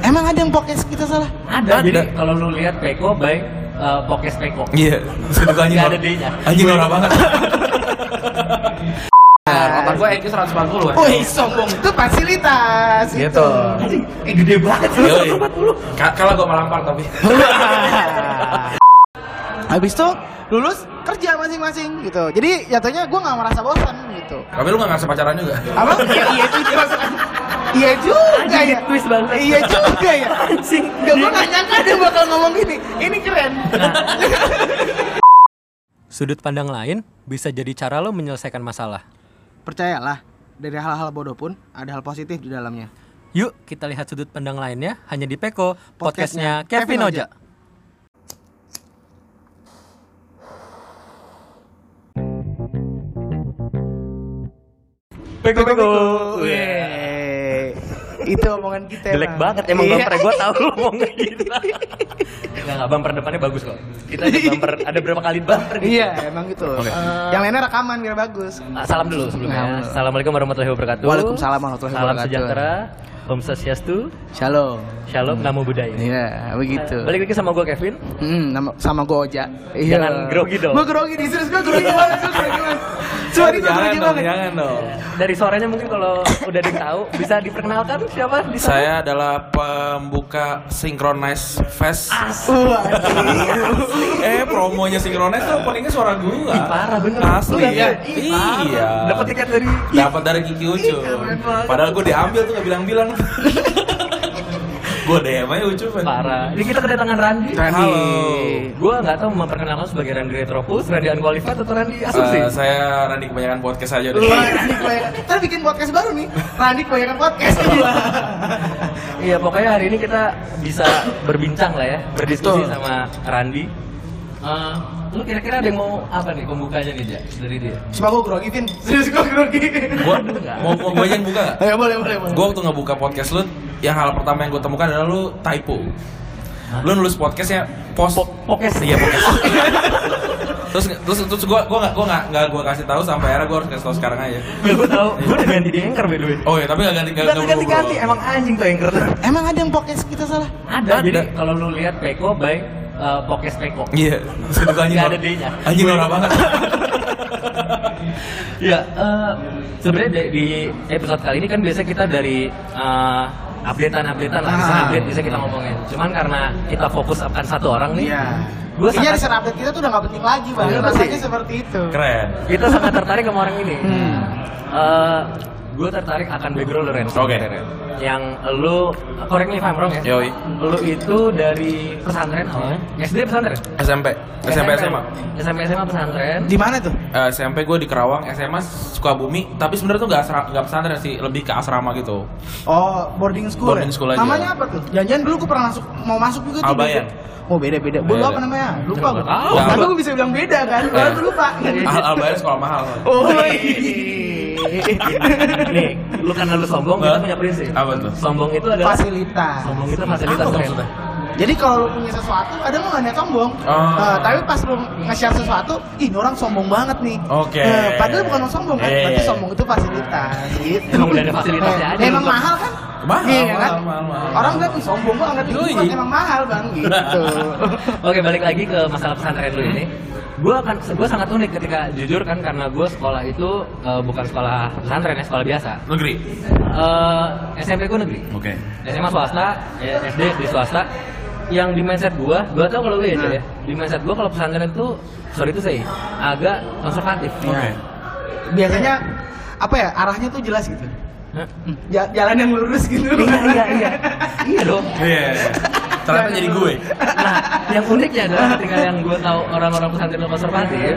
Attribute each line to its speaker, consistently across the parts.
Speaker 1: Emang ada yang podcast kita salah?
Speaker 2: Ada,
Speaker 3: Ada.
Speaker 2: jadi kalau lu lihat Peko by eh, Pokes Peko.
Speaker 3: Iya. Seduk anjing.
Speaker 2: Nggak
Speaker 3: Nora.
Speaker 2: ada D-nya.
Speaker 3: Anjing norak banget.
Speaker 2: Nah, nomor gue EQ 140 ya.
Speaker 1: Wih, Ah, oh, iya, sombong itu fasilitas.
Speaker 3: Gitu.
Speaker 2: Anjing, eh gede banget
Speaker 3: Yoi.
Speaker 2: 140.
Speaker 3: Ka- Kalah gue melampar tapi.
Speaker 1: Gitu. Habis itu lulus kerja masing-masing gitu. Jadi jatuhnya gue nggak merasa bosan gitu.
Speaker 3: Tapi lu gak ngerasa pacaran juga?
Speaker 1: Apa? Iya, iya juga. Iya juga
Speaker 2: Anjing,
Speaker 1: ya.
Speaker 2: twist banget.
Speaker 1: Iya juga ya.
Speaker 2: Anjing.
Speaker 1: Gak gue nggak nyangka dia bakal ngomong gini. Ini keren.
Speaker 4: Sudut pandang lain bisa jadi cara lo menyelesaikan masalah.
Speaker 1: Percayalah, dari hal-hal bodoh pun ada hal positif di dalamnya.
Speaker 4: Yuk kita lihat sudut pandang lainnya hanya di Peko,
Speaker 1: Podcastnya
Speaker 4: podcastnya Kevin
Speaker 1: Kevin
Speaker 4: Oja.
Speaker 2: Peko Peko. Iya.
Speaker 1: Weh. Itu omongan kita.
Speaker 2: Jelek
Speaker 1: Bang.
Speaker 2: banget emang
Speaker 1: Iya.
Speaker 2: bumper gue tau lu mau kayak gitu. Enggak enggak bumper depannya bagus kok. Kita ada bumper ada berapa kali bumper gitu.
Speaker 1: Iya, emang gitu. Eh, yang lainnya rekaman biar bagus.
Speaker 2: Ah, Salam dulu sebelumnya.
Speaker 1: Nah,
Speaker 2: Assalamualaikum warahmatullahi wabarakatuh.
Speaker 1: Waalaikumsalam warahmatullahi
Speaker 2: Salam
Speaker 1: wabarakatuh.
Speaker 2: sejahtera. Om Swastiastu.
Speaker 1: Shalom.
Speaker 2: Shalom namo budaya.
Speaker 1: Iya, begitu.
Speaker 2: Balik lagi sama gue Kevin.
Speaker 1: Hmm, nama- sama gue Oja.
Speaker 2: Jangan grogi dong.
Speaker 1: Gue grogi nih, serius gue grogi banget, gue grogi banget. Cuma ini gue
Speaker 3: jangan
Speaker 1: grogi
Speaker 3: dong,
Speaker 1: banget.
Speaker 3: jangan dong.
Speaker 2: Dari suaranya mungkin kalau udah ada yang tahu bisa diperkenalkan siapa di sana?
Speaker 3: Saya adalah pembuka Synchronize Fest.
Speaker 1: Wah,
Speaker 3: Eh, promonya Synchronize tuh palingnya suara gua.
Speaker 2: Parah, bener.
Speaker 3: Asli.
Speaker 2: Lu ya?
Speaker 3: Iya.
Speaker 2: dapat-
Speaker 3: Iya.
Speaker 2: Dapat tiket dari
Speaker 3: Dapat dari Kiki Ucu.
Speaker 1: keren banget.
Speaker 3: Padahal gua diambil tuh gak bilang-bilang. Gua DM aja Ucu. Fan.
Speaker 2: parah. Ini kita kedatangan Randi.
Speaker 3: Randi.
Speaker 2: Halo. Gue nggak tahu memperkenalkan sebagai Randi Retropus, Randi Unqualified atau Randi Asumsi.
Speaker 3: Eh, saya Randi kebanyakan podcast aja deh.
Speaker 1: Wah, Randy kebanyakan. ya. Ntar bikin podcast baru nih. Randy kebanyakan podcast. Wah.
Speaker 2: Iya pokoknya hari ini kita bisa berbincang lah ya, berdiskusi
Speaker 1: Betul.
Speaker 2: sama Randi. Eh, lu kira-kira ada yang mau apa nih pembukanya nih Ja, dari dia?
Speaker 1: Cuma gue grogi, Vin. Serius gue grogi.
Speaker 3: Gua mau mau gua aja yang buka.
Speaker 1: Ayo, boleh, boleh, boleh.
Speaker 3: Gue waktu ngebuka podcast lu, yang hal pertama yang gue temukan adalah lu typo. Lu nulis podcastnya post
Speaker 2: Po- podcast.
Speaker 3: Iya podcast. terus terus terus gue gue nggak gue nggak nggak gue kasih tahu sampai akhirnya gue harus kasih tahu sekarang aja.
Speaker 2: gue tau, gue udah ganti di anchor by the way.
Speaker 3: Oh iya tapi nggak ganti nggak
Speaker 2: Ganti ganti
Speaker 3: berubah.
Speaker 2: ganti, emang anjing tuh anchor.
Speaker 1: Emang ada yang podcast kita salah?
Speaker 2: Ada. Jadi
Speaker 3: Ada.
Speaker 2: kalau lu lihat Peko by eh, Pokes Peko.
Speaker 3: Iya. Seduk anjing.
Speaker 2: Nggak ada
Speaker 3: Nora.
Speaker 2: D-nya.
Speaker 3: Anjing norak banget.
Speaker 2: Iya, eh, sebenarnya di, di episode kali ini kan biasanya kita dari eh, updatean-updatean lah, bisa
Speaker 1: Ah.
Speaker 2: update bisa kita ngomongin. Cuman karena kita fokus akan satu orang nih,
Speaker 1: Gue
Speaker 2: Gua
Speaker 1: Kayaknya
Speaker 2: sangat-
Speaker 1: riset Iya, update kita tuh udah gak penting lagi, Bang.
Speaker 2: Iya,
Speaker 1: Rasanya
Speaker 2: pasti.
Speaker 1: seperti itu.
Speaker 3: Keren.
Speaker 2: kita sangat tertarik sama orang ini.
Speaker 1: Hmm.
Speaker 2: gue tertarik akan background lu, Ren.
Speaker 3: Oke.
Speaker 2: Yang lu, correct me if I'm wrong ya.
Speaker 3: Yoi.
Speaker 2: Lu itu dari pesantren awalnya. SD pesantren?
Speaker 3: SMP SMP SMA.
Speaker 2: SMP SMA pesantren.
Speaker 1: Di mana tuh?
Speaker 3: Eh, SMP gue di Kerawang, SMA Sukabumi, tapi sebenarnya tuh nggak asra- nggak pesantren sih, lebih ke asrama gitu.
Speaker 1: Oh, boarding school.
Speaker 3: Boarding
Speaker 1: ya?
Speaker 3: school aja.
Speaker 1: Namanya apa tuh? Jangan-jangan dulu gue pernah masuk mau masuk juga tuh.
Speaker 3: Albayan.
Speaker 1: beda. Oh, beda-beda. Gue
Speaker 3: Beda.
Speaker 1: apa namanya? Lupa gue.
Speaker 2: Nggak tahu.
Speaker 1: Tapi gue bisa bilang beda kan. Gue
Speaker 3: Iya.
Speaker 1: lupa.
Speaker 3: Al Albayan sekolah mahal.
Speaker 1: Oh.
Speaker 2: Nih, lu karena lu sombong, kita
Speaker 3: Hah?
Speaker 2: punya prinsip.
Speaker 3: Apa tuh?
Speaker 2: Sombong itu adalah
Speaker 1: Fasilitas.
Speaker 2: sombong itu fasilitas
Speaker 3: Apa
Speaker 2: Ren.
Speaker 3: maksudnya?
Speaker 1: Jadi kalau lu punya sesuatu, ada nggak niat sombong?
Speaker 3: Oh.
Speaker 1: Eh, tapi pas lu nge-share sesuatu, ih ini orang sombong banget nih.
Speaker 3: Oke.
Speaker 1: Eh, padahal bukan orang sombong kan,
Speaker 3: Iya,
Speaker 1: berarti
Speaker 3: iya.
Speaker 1: sombong itu fasilitas. Gitu.
Speaker 2: Emang udah ada fasilitasnya
Speaker 1: Eh,
Speaker 2: aja,
Speaker 1: Emang
Speaker 2: lu sombong.
Speaker 1: mahal kan?
Speaker 3: ya? Mahal,
Speaker 1: Iya kan?
Speaker 3: mahal, mahal, mahal.
Speaker 1: Orang bilang "Ih, sombong banget, itu
Speaker 3: Yoi.
Speaker 1: bukan emang mahal bang gitu.
Speaker 2: Oke balik lagi ke masalah pesantren lu ini. Gue akan gue sangat unik ketika jujur kan karena gue sekolah itu eh, bukan sekolah pesantren ya sekolah biasa.
Speaker 3: Negeri.
Speaker 2: Eh, SMP gue negeri,
Speaker 3: Oke.
Speaker 2: SMA swasta, ya, SD di swasta. Yang di mindset gue, gue tau kalau lu ya, Cel, ya. Di mindset gue kalau pesantren itu sorry itu saya agak konservatif.
Speaker 3: Oke.
Speaker 1: Biasanya apa ya arahnya tuh jelas gitu.
Speaker 2: Hah?
Speaker 1: Ja- jalan yang lurus gitu.
Speaker 2: Iya iya iya. Iya dong.
Speaker 3: Iya. Ternyata jadi gue.
Speaker 2: Nah, yang uniknya adalah ketika yang gue tahu orang-orang pesantren lu konservatif,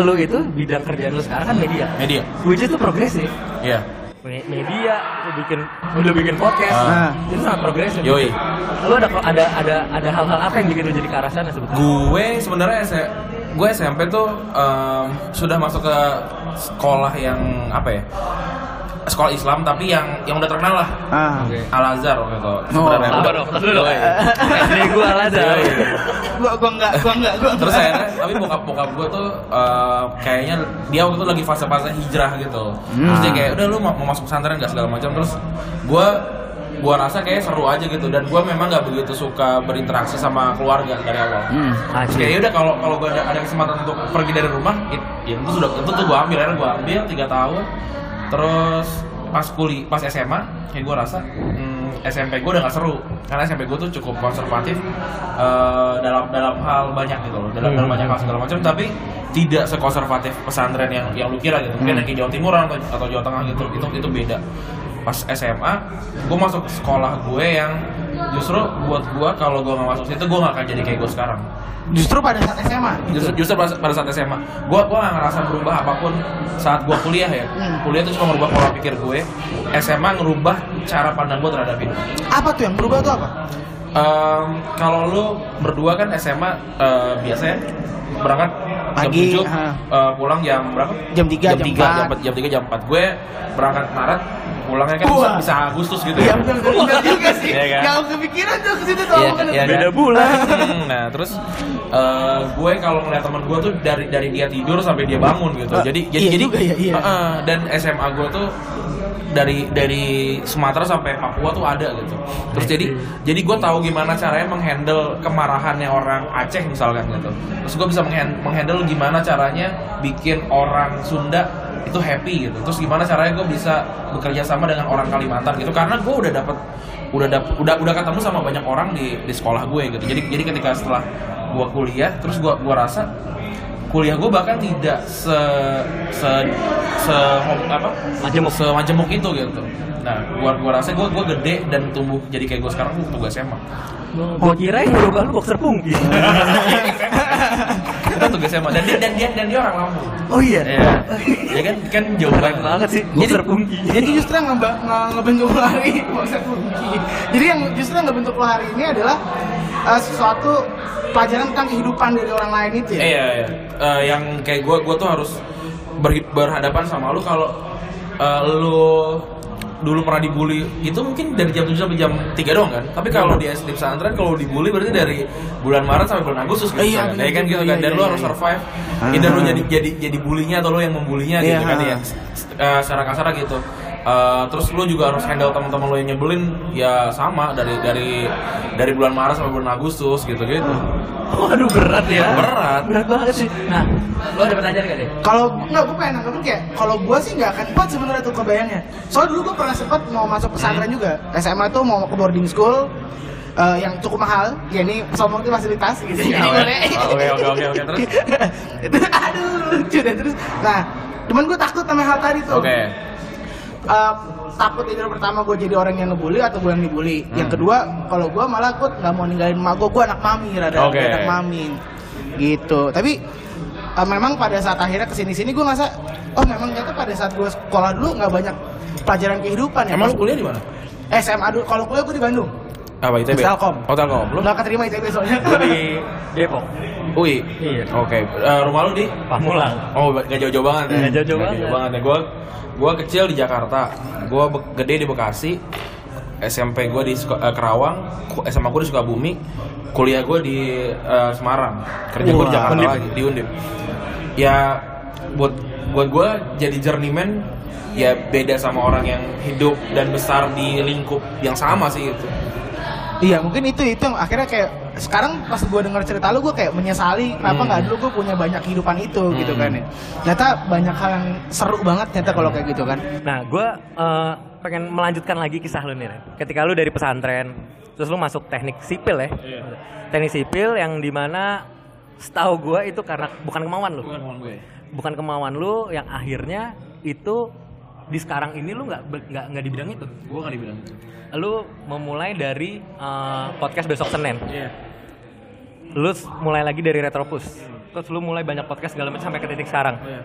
Speaker 2: lu itu bidang kerjaan lu sekarang kan media.
Speaker 3: Media.
Speaker 2: Which is tuh progresif.
Speaker 3: Iya.
Speaker 2: Me- Media, lu bikin, lu bikin podcast,
Speaker 1: Ah.
Speaker 2: itu sangat progresif.
Speaker 3: Yoi.
Speaker 2: Lu ada ada ada ada hal-hal apa yang bikin lu jadi ke arah sana sebetulnya?
Speaker 3: Gue sebenarnya S E, gue SMP tuh em, sudah masuk ke sekolah yang apa ya? Sekolah Islam tapi yang yang udah terkenal lah.
Speaker 1: Ah.
Speaker 3: Al Azhar waktu itu.
Speaker 2: Oh.
Speaker 3: Sebenarnya
Speaker 2: Sabar
Speaker 3: udah.
Speaker 2: dong, tar dulu dong.
Speaker 3: Yoi.
Speaker 2: Ini gue alasan.
Speaker 3: Yoi.
Speaker 1: Gua gua enggak, gua enggak, gua
Speaker 3: Terus
Speaker 1: enggak.
Speaker 3: akhirnya, tapi bokap bokap gue tuh em, kayaknya dia waktu itu lagi fase-fase hijrah gitu. Terus dia kayak udah lu mau, mau masuk pesantren gak segala macam. Terus gue gua rasa kayak seru aja gitu dan gua memang nggak begitu suka berinteraksi sama keluarga dari awal
Speaker 2: Hmm, asli.
Speaker 3: kayaknya udah kalau kalau gue ada, ada kesempatan untuk pergi dari rumah it- ya itu sudah itu tuh gue ambil akhirnya gue ambil tiga tahun terus pas kuliah pas SMA kayak gue rasa hmm, SMP gue udah gak seru karena SMP gue tuh cukup konservatif eh, dalam dalam hal banyak gitu loh dalam, dalam
Speaker 2: Hmm.
Speaker 3: banyak hal segala macam tapi tidak sekonservatif pesantren yang yang lu kira gitu mungkin
Speaker 2: Hmm.
Speaker 3: di Jawa Timuran atau, atau Jawa Tengah gitu itu itu beda pas SMA gue masuk sekolah gue yang justru buat gue kalau gue nggak masuk situ gue nggak akan jadi kayak gue sekarang
Speaker 1: Justru pada saat SMA.
Speaker 3: justru justru pada, pada saat SMA gue gue nggak ngerasa berubah apapun saat gue kuliah ya
Speaker 1: Hmm.
Speaker 3: kuliah itu cuma merubah pola pikir gue SMA ngerubah cara pandang gue terhadap hidup
Speaker 1: Apa tuh yang berubah tuh apa?
Speaker 3: Em, kalau lu berdua kan SMA eh, biasanya berangkat
Speaker 1: Pagi,
Speaker 3: jam 7,
Speaker 1: ah.
Speaker 3: eh, pulang jam berapa?
Speaker 1: Jam 3, jam
Speaker 3: 3, jam
Speaker 1: 4.
Speaker 3: 4, jam 3, jam 4. Gue berangkat Maret, pulangnya kan bisa,
Speaker 1: Wah.
Speaker 3: bisa Agustus gitu
Speaker 1: Ya
Speaker 3: ya.
Speaker 1: benar benar juga sih.
Speaker 3: Iya kan?
Speaker 1: Gak kepikiran tuh ke situ tuh.
Speaker 2: Iya,
Speaker 1: omongan.
Speaker 2: iya.
Speaker 3: beda bulan kan? nah terus eh, gue kalau ngeliat teman gue tuh dari dari dia tidur sampai dia bangun gitu
Speaker 1: Eh,
Speaker 3: jadi
Speaker 1: iya
Speaker 3: jadi jadi
Speaker 1: juga ya, iya.
Speaker 3: Heeh, dan SMA gue tuh dari dari Sumatera sampai Papua tuh ada gitu terus jadi jadi gue tahu gimana caranya menghandle kemarahannya orang Aceh misalkan gitu terus gue bisa menghan- menghandle gimana caranya bikin orang Sunda itu happy gitu terus gimana caranya gue bisa bekerja sama dengan orang Kalimantan gitu karena gue udah dapet udah dap- udah udah ketemu sama banyak orang di di sekolah gue gitu jadi jadi ketika setelah gue kuliah terus gue gua rasa kuliah gue bahkan tidak se se se hom- apa
Speaker 2: Majemuk.
Speaker 3: semajemuk itu gitu nah gua gua rasa gua gua gede dan tumbuh jadi kayak gua sekarang tuh tugas SMA
Speaker 2: Gue kira yang berubah lu boxer pungki.
Speaker 3: itu tugas SMA dan dia dan dia dan dia orang Lampung
Speaker 2: Oh iya.
Speaker 3: ya, ya kan kan jauh
Speaker 2: Keren banget sih, boxer pungki.
Speaker 1: Jadi justru yang ngeba- nge- ngebentuk lo hari ini, maksud Bungki. Jadi yang justru yang ngebentuk lo hari ini adalah eh, sesuatu pelajaran tentang kehidupan dari orang lain itu ya.
Speaker 3: Iya, iya. Eh, yang kayak gue, gue tuh harus ber- berhadapan sama lu kalau eh, lu dulu pernah dibully itu mungkin dari jam 7 sampai jam 3 doang kan tapi kalau di SD pesantren kalau dibully berarti dari bulan Maret sampai bulan Agustus gitu
Speaker 1: Iya,
Speaker 3: kan
Speaker 1: bener
Speaker 3: ya kan
Speaker 1: juga.
Speaker 3: gitu kan
Speaker 1: Iya,
Speaker 3: dan lu
Speaker 1: iya,
Speaker 3: harus
Speaker 1: iya.
Speaker 3: survive either lu
Speaker 1: Aha.
Speaker 3: jadi jadi jadi bullynya atau lu yang membulinya
Speaker 1: Iya.
Speaker 3: gitu kan ya Eh, secara kasar gitu Eh, terus lu juga harus handle teman-teman lu yang nyebelin ya sama dari dari dari bulan Maret sampai bulan Agustus gitu gitu
Speaker 2: Waduh berat ya.
Speaker 3: Berat.
Speaker 2: Berat banget sih. Nah, lu ada pertanyaan gak deh?
Speaker 1: Kalau nggak gue pengen nanggepin kayak kalau gue sih nggak akan kuat sebenarnya tuh kebayangnya. Soalnya dulu gue pernah sempat mau masuk
Speaker 3: Hmm.
Speaker 1: pesantren juga. SMA tuh mau ke boarding school eh, yang cukup mahal, ya ini sombong itu fasilitas gitu. Jadi
Speaker 3: Oh,
Speaker 1: boleh.
Speaker 3: Oke oke oke oke terus
Speaker 1: Itu, Aduh lucu deh terus. Nah, cuman gue takut sama hal tadi tuh.
Speaker 3: Oke.
Speaker 1: Eh, takut itu pertama gue jadi orang yang ngebully atau gue yang dibully. Yang
Speaker 3: Hmm.
Speaker 1: kedua, kalau gue malah gue nggak mau ninggalin emak gue, gue anak mami rada
Speaker 3: Oke.
Speaker 1: anak mami gitu. Tapi eh, memang pada saat akhirnya kesini-sini gue ngerasa, oh memang ternyata pada saat gue sekolah dulu nggak banyak pelajaran kehidupan ya.
Speaker 3: Emang
Speaker 1: Pas- Eh,
Speaker 3: lu kuliah di mana?
Speaker 1: SMA dulu, kalau kuliah gue di Bandung,
Speaker 3: Apa ITB?
Speaker 1: Telkom.
Speaker 3: Oh Telkom. Lu
Speaker 1: belum gak keterima ITB soalnya.
Speaker 3: lu di
Speaker 2: Depok.
Speaker 3: UI.
Speaker 2: Iya.
Speaker 3: Oke. Eh, rumah lu di?
Speaker 2: Pamulang.
Speaker 3: Oh gak jauh-jauh banget. ya?
Speaker 2: Nggak jauh-jauh
Speaker 3: Nggak
Speaker 2: banget.
Speaker 3: ya. Gue gue kecil di Jakarta. Gue be- gede di Bekasi. SMP gue di Suka- eh, Kerawang, Ku- SMA gue di Sukabumi, kuliah gue di eh, Semarang, kerja gue di
Speaker 1: Wah.
Speaker 3: Jakarta
Speaker 1: Undip.
Speaker 3: lagi di Undip. Ya buat buat gue jadi journeyman ya beda sama orang yang hidup dan besar di lingkup yang sama sih gitu.
Speaker 1: Iya mungkin itu itu yang akhirnya kayak sekarang pas gue denger cerita lu gue kayak menyesali kenapa nggak dulu gue punya banyak kehidupan itu gitu kan ya. Ternyata banyak hal yang seru banget ternyata kalau kayak gitu kan.
Speaker 2: Nah, gue pengen melanjutkan lagi kisah lu nih, Ren. Ketika lu dari pesantren, terus lu masuk teknik sipil ya. Teknik sipil yang dimana setahu gue itu karena bukan kemauan lu. Bukan kemauan lu yang akhirnya itu di sekarang ini lu nggak ber- nggak nggak di bidang itu.
Speaker 3: Gue kan dibilang.
Speaker 2: Lu memulai dari eh, podcast besok Senin.
Speaker 3: Iya.
Speaker 2: Lu s- mulai lagi dari Retropus. Terus lu mulai banyak podcast segala macam sampai ke titik sekarang.
Speaker 3: Iya.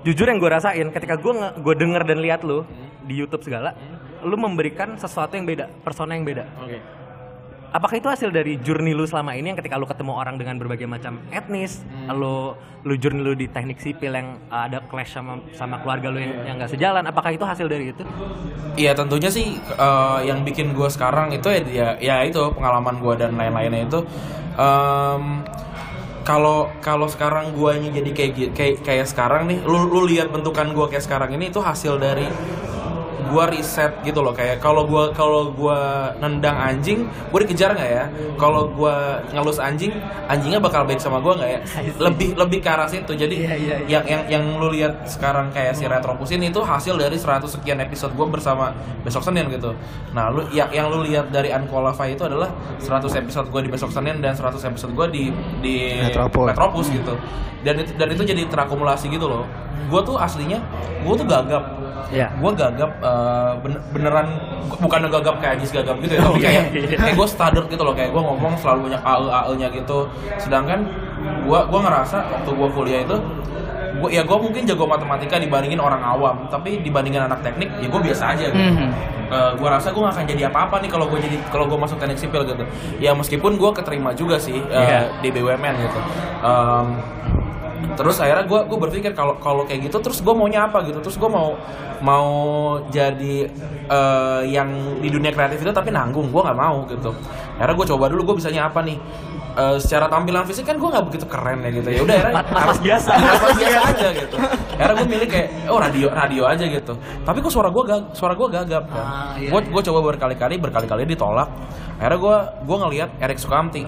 Speaker 2: jujur yang gue rasain ketika gue nge- gue denger dan lihat lu di YouTube segala, lu memberikan sesuatu yang beda, persona yang beda.
Speaker 3: Oke.
Speaker 2: Apakah itu hasil dari journey lu selama ini yang ketika lu ketemu orang dengan berbagai macam etnis, lu lu journey lu di teknik sipil yang ada clash sama sama keluarga lu yang yang nggak sejalan, apakah itu hasil dari itu?
Speaker 3: Iya tentunya sih eh, yang bikin gue sekarang itu ya, ya ya itu pengalaman gue dan lain-lainnya itu em, kalau kalau sekarang guanya jadi kayak gi- kayak kayak sekarang nih lu lu lihat bentukan gua kayak sekarang ini itu hasil dari gua riset gitu loh kayak kalau gua kalau gua nendang anjing, gua dikejar nggak ya? Kalau gua ngelus anjing, anjingnya bakal baik sama gua nggak ya?
Speaker 2: I see.
Speaker 3: Lebih lebih ke arah situ. Jadi
Speaker 2: Iya, iya, iya.
Speaker 3: yang yang yang lu lihat sekarang kayak si Retropus ini itu hasil dari 100 sekian episode gua bersama Besok Senin gitu. Nah, lu yang yang lu lihat dari Unqualified itu adalah 100 episode gua di Besok Senin dan 100 episode gua di di
Speaker 1: Retropus.
Speaker 3: Retropus gitu. Dan itu dan itu jadi terakumulasi gitu loh. Gua tuh aslinya gua tuh gagap
Speaker 2: Iya.
Speaker 3: gue gagap eh, bener- beneran bukan gagap kayak Ajis gagap gitu ya tapi kayak kayak gue stutter gitu loh kayak gue ngomong selalu banyak ae ae nya gitu sedangkan gue gua ngerasa waktu gue kuliah itu gua, ya gue mungkin jago matematika dibandingin orang awam tapi dibandingin anak teknik ya gue biasa aja gitu
Speaker 1: Mhm.
Speaker 3: gue rasa gue gak akan jadi apa-apa nih kalau gue jadi kalau gue masuk teknik sipil gitu ya meskipun gue keterima juga sih eh,
Speaker 2: Iya.
Speaker 3: di BUMN gitu Em, terus akhirnya gue gue berpikir kalau kalau kayak gitu terus gue maunya apa gitu terus gue mau mau jadi eh, yang di dunia kreatif itu tapi nanggung gue nggak mau gitu akhirnya gue coba dulu gue bisanya apa nih Eh, secara tampilan fisik kan gue nggak begitu keren ya gitu ya udah akhirnya
Speaker 2: Pas- pas biasa.
Speaker 3: pas biasa aja gitu akhirnya gue milih kayak oh radio radio aja gitu tapi kok suara gue gag suara gue gagap kan
Speaker 2: Ah, iya,
Speaker 3: gue gue coba berkali-kali berkali-kali ditolak akhirnya gue gue ngelihat Erik Sukamti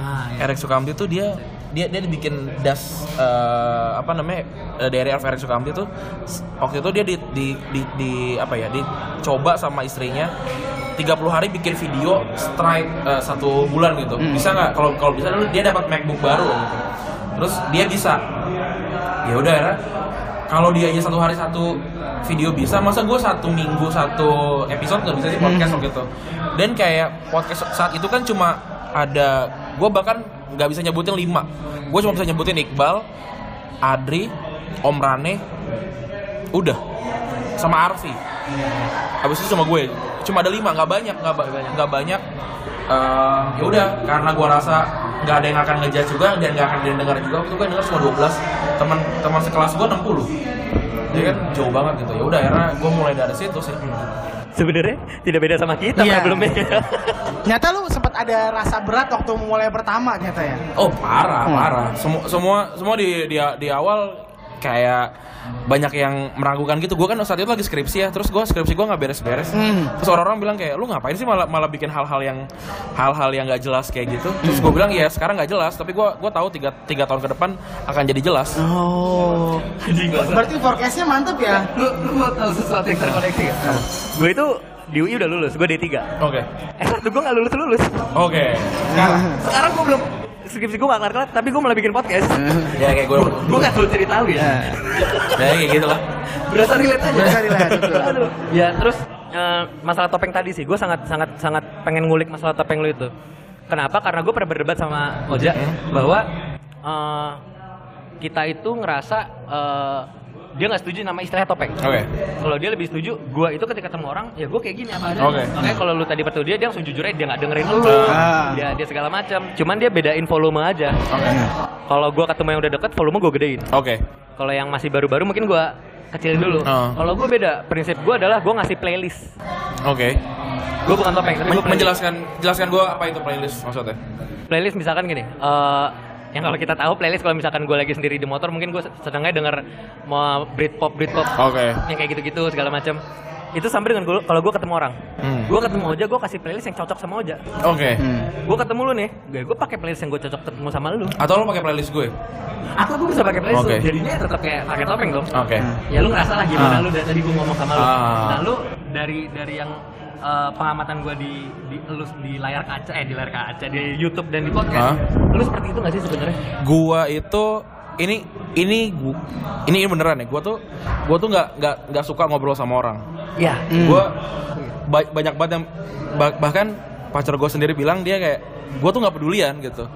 Speaker 2: Ah, iya.
Speaker 3: Erik Sukamti tuh dia dia dia dibikin das eh, apa namanya eh, dari Elf Erik Sukamti tuh s- waktu itu dia di di di- di- apa ya dicoba sama istrinya 30 hari bikin video strike eh, satu bulan gitu bisa nggak kalau kalau bisa dulu dia dapat MacBook baru gitu terus dia bisa ya udah akhirnya kalau dia aja satu hari satu video bisa masa gue satu minggu satu episode nggak bisa sih podcast waktu itu gitu. dan kayak podcast saat itu kan cuma ada gue bahkan nggak bisa nyebutin lima gue cuma bisa nyebutin Iqbal Adri Om Rane udah sama Arfi habis itu cuma gue cuma ada lima nggak banyak nggak ba- nggak banyak Eh, ya udah karena gue rasa nggak ada yang akan ngejudge juga dan nggak akan ada yang dengar juga waktu itu gue denger cuma 12 teman teman sekelas gue 60 jadi kan jauh banget gitu ya udah akhirnya gue mulai dari situ sih
Speaker 2: Sebenarnya tidak beda sama kita
Speaker 1: Iya.
Speaker 2: problemnya.
Speaker 1: Nyata lu sempat ada rasa berat waktu mulai pertama nyata ya.
Speaker 3: oh parah
Speaker 1: Hmm.
Speaker 3: parah semua semua semua di di, di awal kayak banyak yang meragukan gitu gue kan saat itu lagi skripsi ya terus gue skripsi gue nggak beres-beres
Speaker 1: Hmm.
Speaker 3: terus orang-orang bilang kayak lu ngapain sih malah malah bikin hal-hal yang hal-hal yang nggak jelas kayak gitu
Speaker 1: Hmm.
Speaker 3: terus gue bilang ya sekarang nggak jelas tapi gue gue tahu tiga tiga tahun ke depan akan jadi jelas
Speaker 1: Oh. Berarti forecastnya mantep ya.
Speaker 2: lu lu mau tahu sesuatu yang terkoneksi gak? gue itu di UI udah lulus, gue D3.
Speaker 3: oke
Speaker 2: Eh, waktu gue gak lulus-lulus.
Speaker 3: oke
Speaker 2: Sekarang gue belum skripsi gue gak kelar-kelar, tapi gue malah bikin podcast.
Speaker 1: Hmm.
Speaker 3: ya kayak gue
Speaker 2: gue gak tahu cerita lu ya.
Speaker 3: ya kayak gitu lah
Speaker 2: Berasa relate aja.
Speaker 1: Berasa relate, betul.
Speaker 2: Aduh. ya, terus eh, masalah topeng tadi sih, gue sangat sangat sangat pengen ngulik masalah topeng lu itu. Kenapa? Karena gue pernah berdebat sama Oja bahwa eh, kita itu ngerasa eh, dia nggak setuju nama istilah topeng.
Speaker 3: oke
Speaker 2: Kalau dia lebih setuju, gue itu ketika ketemu orang, ya gue kayak gini apa adanya.
Speaker 3: Oke.
Speaker 2: Makanya kalau lu tadi bertemu dia, dia langsung jujur aja, dia nggak dengerin lu,
Speaker 1: Ah.
Speaker 2: dia, dia segala macam. Cuman dia bedain volume aja.
Speaker 3: oke
Speaker 2: Kalau gue ketemu yang udah deket, volume gue gedein.
Speaker 3: oke
Speaker 2: Kalau yang masih baru-baru mungkin gue kecilin dulu.
Speaker 3: Ah.
Speaker 2: Kalau gue beda, prinsip gue adalah gue ngasih playlist.
Speaker 3: oke
Speaker 2: Gue bukan topeng, tapi
Speaker 3: Men-
Speaker 2: gue
Speaker 3: menjelaskan jelaskan gue apa itu playlist maksudnya
Speaker 2: playlist misalkan gini eh yang kalau kita tahu playlist kalau misalkan gue lagi sendiri di motor mungkin gue senengnya denger mau Britpop Britpop
Speaker 3: Oke.
Speaker 2: yang kayak gitu-gitu segala macam itu sampai dengan gua- kalau gue ketemu orang
Speaker 3: Hmm.
Speaker 2: gue ketemu Oja gue kasih playlist yang cocok sama Oja
Speaker 3: oke
Speaker 1: Hmm.
Speaker 2: gue ketemu lu nih gue pakai playlist yang gue cocok ketemu sama lu
Speaker 3: atau lo pakai playlist gue
Speaker 2: atau gue bisa pakai playlist
Speaker 3: Oke.
Speaker 2: lu jadinya tetap kayak pakai topeng dong
Speaker 3: oke
Speaker 2: ya lu ngerasa lah gimana
Speaker 3: Ah.
Speaker 2: lu dari tadi gue ngomong sama lu
Speaker 3: Ah.
Speaker 2: nah lu dari dari yang eh, pengamatan gue di di lu di layar kaca eh di layar kaca di YouTube dan di podcast
Speaker 3: Ah.
Speaker 2: lu seperti itu gak sih sebenarnya
Speaker 3: gua itu ini ini gu- ini, ini beneran ya gua tuh gua tuh nggak nggak nggak suka ngobrol sama orang Iya.
Speaker 2: ya
Speaker 3: gua ba- banyak banget yang bah- bahkan pacar gua sendiri bilang dia kayak gua tuh nggak pedulian gitu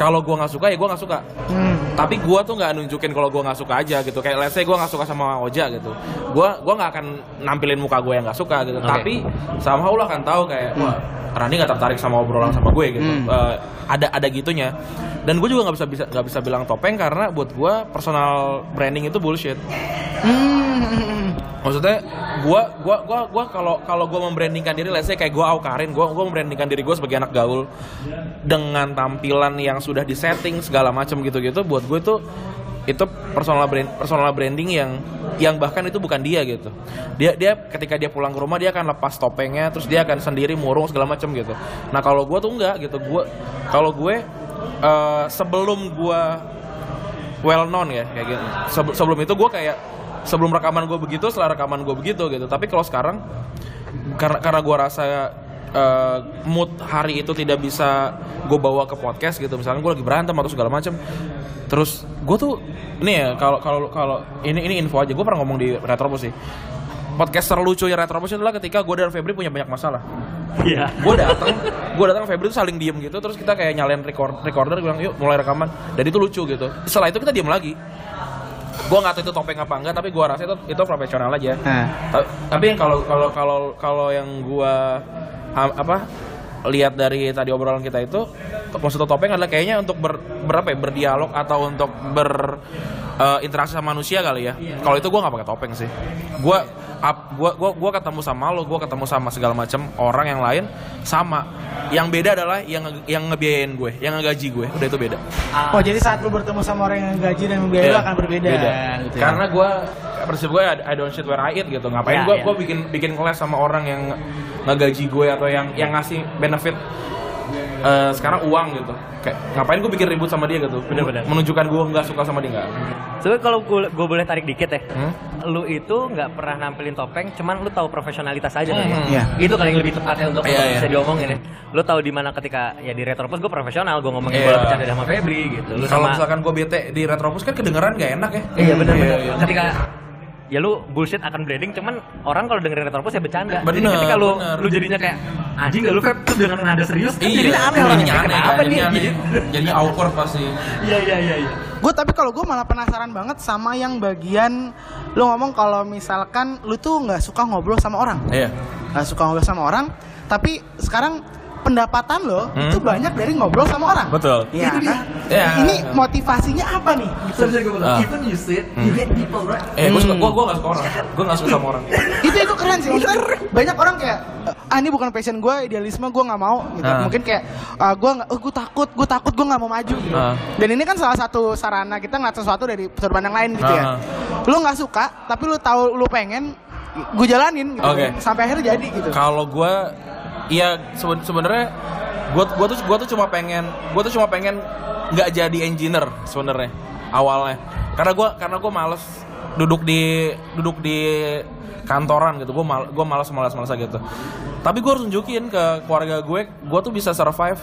Speaker 3: kalau gua nggak suka ya gua nggak suka
Speaker 1: Hmm.
Speaker 3: tapi gua tuh nggak nunjukin kalau gua nggak suka aja gitu kayak let's say gua nggak suka sama Oja gitu gua gua nggak akan nampilin muka gue yang nggak suka gitu
Speaker 2: Oke.
Speaker 3: tapi sama lo akan tahu kayak wah Rani nggak tertarik sama obrolan sama gue gitu
Speaker 1: Hmm.
Speaker 3: Eh, ada ada gitunya dan gue juga nggak bisa bisa nggak bisa bilang topeng karena buat gue personal branding itu bullshit
Speaker 1: Hmm.
Speaker 3: maksudnya gua gua gua gua kalau kalau gua membrandingkan diri let's say kayak gua Aukarin gua gua membrandingkan diri gua sebagai anak gaul dengan tampilan yang sudah disetting segala macam gitu-gitu buat gue tuh itu personal brand personal branding yang yang bahkan itu bukan dia gitu dia dia ketika dia pulang ke rumah dia akan lepas topengnya terus dia akan sendiri murung segala macam gitu nah kalau gue tuh enggak gitu gue kalau gue eh, sebelum gue well known ya kayak gitu. Sebe- sebelum itu gue kayak sebelum rekaman gue begitu, setelah rekaman gue begitu gitu. Tapi kalau sekarang karena karena gue rasa eh, mood hari itu tidak bisa gue bawa ke podcast gitu. Misalnya gue lagi berantem atau segala macam. Terus gue tuh nih ya kalau kalau kalau ini ini info aja gue pernah ngomong di Retrobus sih. Podcaster lucu ya Retrobus itu adalah ketika gue dan Febri punya banyak masalah
Speaker 2: Iya.
Speaker 3: gue datang gue datang Febri tuh saling diem gitu terus kita kayak nyalain record, recorder gue bilang yuk mulai rekaman dan itu lucu gitu setelah itu kita diem lagi gue nggak tahu itu topeng apa enggak tapi gue rasa itu itu profesional aja
Speaker 1: Nah.
Speaker 3: Ta- tapi yang kalau kalau kalau kalau yang gue apa lihat dari tadi obrolan kita itu to- maksud topeng adalah kayaknya untuk ber, berapa ya, berdialog atau untuk ber eh, interaksi sama manusia kali ya kalau itu gue nggak pakai topeng sih gue ap- gua gua gua ketemu sama lo gue ketemu sama segala macam orang yang lain sama yang beda adalah yang nge- yang ngebiayain gue yang ngegaji gue udah itu beda
Speaker 1: Oh jadi saat lu bertemu sama orang yang gaji dan membiayai lu
Speaker 3: Iya,
Speaker 1: akan berbeda. gitu ya.
Speaker 3: Karena gue prinsip gue I don't shit where I eat gitu.
Speaker 2: Ya,
Speaker 3: Ngapain gue
Speaker 2: ya.
Speaker 3: gua bikin bikin kelas sama orang yang ngegaji gue atau yang yang ngasih benefit eh, sekarang uang gitu. Kayak ngapain gue bikin ribut sama dia gitu.
Speaker 2: Bener-bener.
Speaker 3: Menunjukkan gue nggak suka sama dia nggak.
Speaker 2: Sebenernya kalau gue gue boleh tarik dikit ya.
Speaker 3: Hmm?
Speaker 2: Lu itu nggak pernah nampilin topeng, cuman lu tahu profesionalitas aja kan.
Speaker 3: Hmm.
Speaker 1: Iya.
Speaker 2: Itu kali yang lebih tepatnya untuk
Speaker 3: Iya, iya.
Speaker 2: bisa diomongin ya. Lu tahu di mana ketika ya di Retropos gue profesional, gue ngomongin
Speaker 3: Iya.
Speaker 2: bola bercanda sama Febri gitu. Lu
Speaker 3: Kalau
Speaker 2: sama
Speaker 3: misalkan gue bete di Retrobus kan kedengeran gak enak ya.
Speaker 2: Iya benar benar.
Speaker 3: iya.
Speaker 2: Ketika ya lu bullshit akan branding cuman orang kalau dengerin Retropos ya bercanda. Jadi
Speaker 3: Bener,
Speaker 2: ketika lu
Speaker 3: bener.
Speaker 2: lu jadinya kayak anjing gak lu Feb Terus dengan nada serius kan jadinya aneh
Speaker 3: Iya. jadinya
Speaker 2: orangnya.
Speaker 3: aneh,
Speaker 2: Kenapa
Speaker 3: kan,
Speaker 2: nih?
Speaker 3: jadinya
Speaker 2: Gitu.
Speaker 3: aneh. Jadinya awkward pasti.
Speaker 2: Iya iya iya iya.
Speaker 1: Gue tapi kalau gue malah penasaran banget sama yang bagian lu ngomong kalau misalkan lu tuh nggak suka ngobrol sama orang,
Speaker 3: Iya.
Speaker 1: nggak suka ngobrol sama orang, tapi sekarang pendapatan lo
Speaker 3: Hmm.
Speaker 1: itu banyak dari ngobrol sama orang.
Speaker 3: Betul.
Speaker 1: Iya.
Speaker 2: Itu dia.
Speaker 1: kan?
Speaker 3: Iya.
Speaker 1: Ini motivasinya apa nih?
Speaker 3: Ah.
Speaker 2: Even you sit, you get people right.
Speaker 3: Eh, gue suka, gue gue gak suka orang, gue gak suka sama orang.
Speaker 1: itu itu keren sih maksudnya banyak orang kayak ah ini bukan passion gue idealisme gue nggak mau gitu
Speaker 3: Ah.
Speaker 1: mungkin kayak ah, gue nggak oh, gue takut gue takut gue nggak mau maju gitu.
Speaker 3: Ah.
Speaker 1: dan ini kan salah satu sarana kita ngeliat sesuatu dari sudut pandang lain gitu
Speaker 3: Ah.
Speaker 1: ya lu nggak suka tapi lu tahu lu pengen gue jalanin gitu
Speaker 3: Oke.
Speaker 1: sampai akhirnya jadi gitu
Speaker 3: Kalau gue, ya seben- sebenarnya gue gua tuh gua tuh cuma pengen gue tuh cuma pengen nggak jadi engineer sebenarnya awalnya. Karena gue karena gue males duduk di duduk di kantoran gitu. Gue mal gue malas malas malas gitu. Tapi gue harus nunjukin ke keluarga gue, gue tuh bisa survive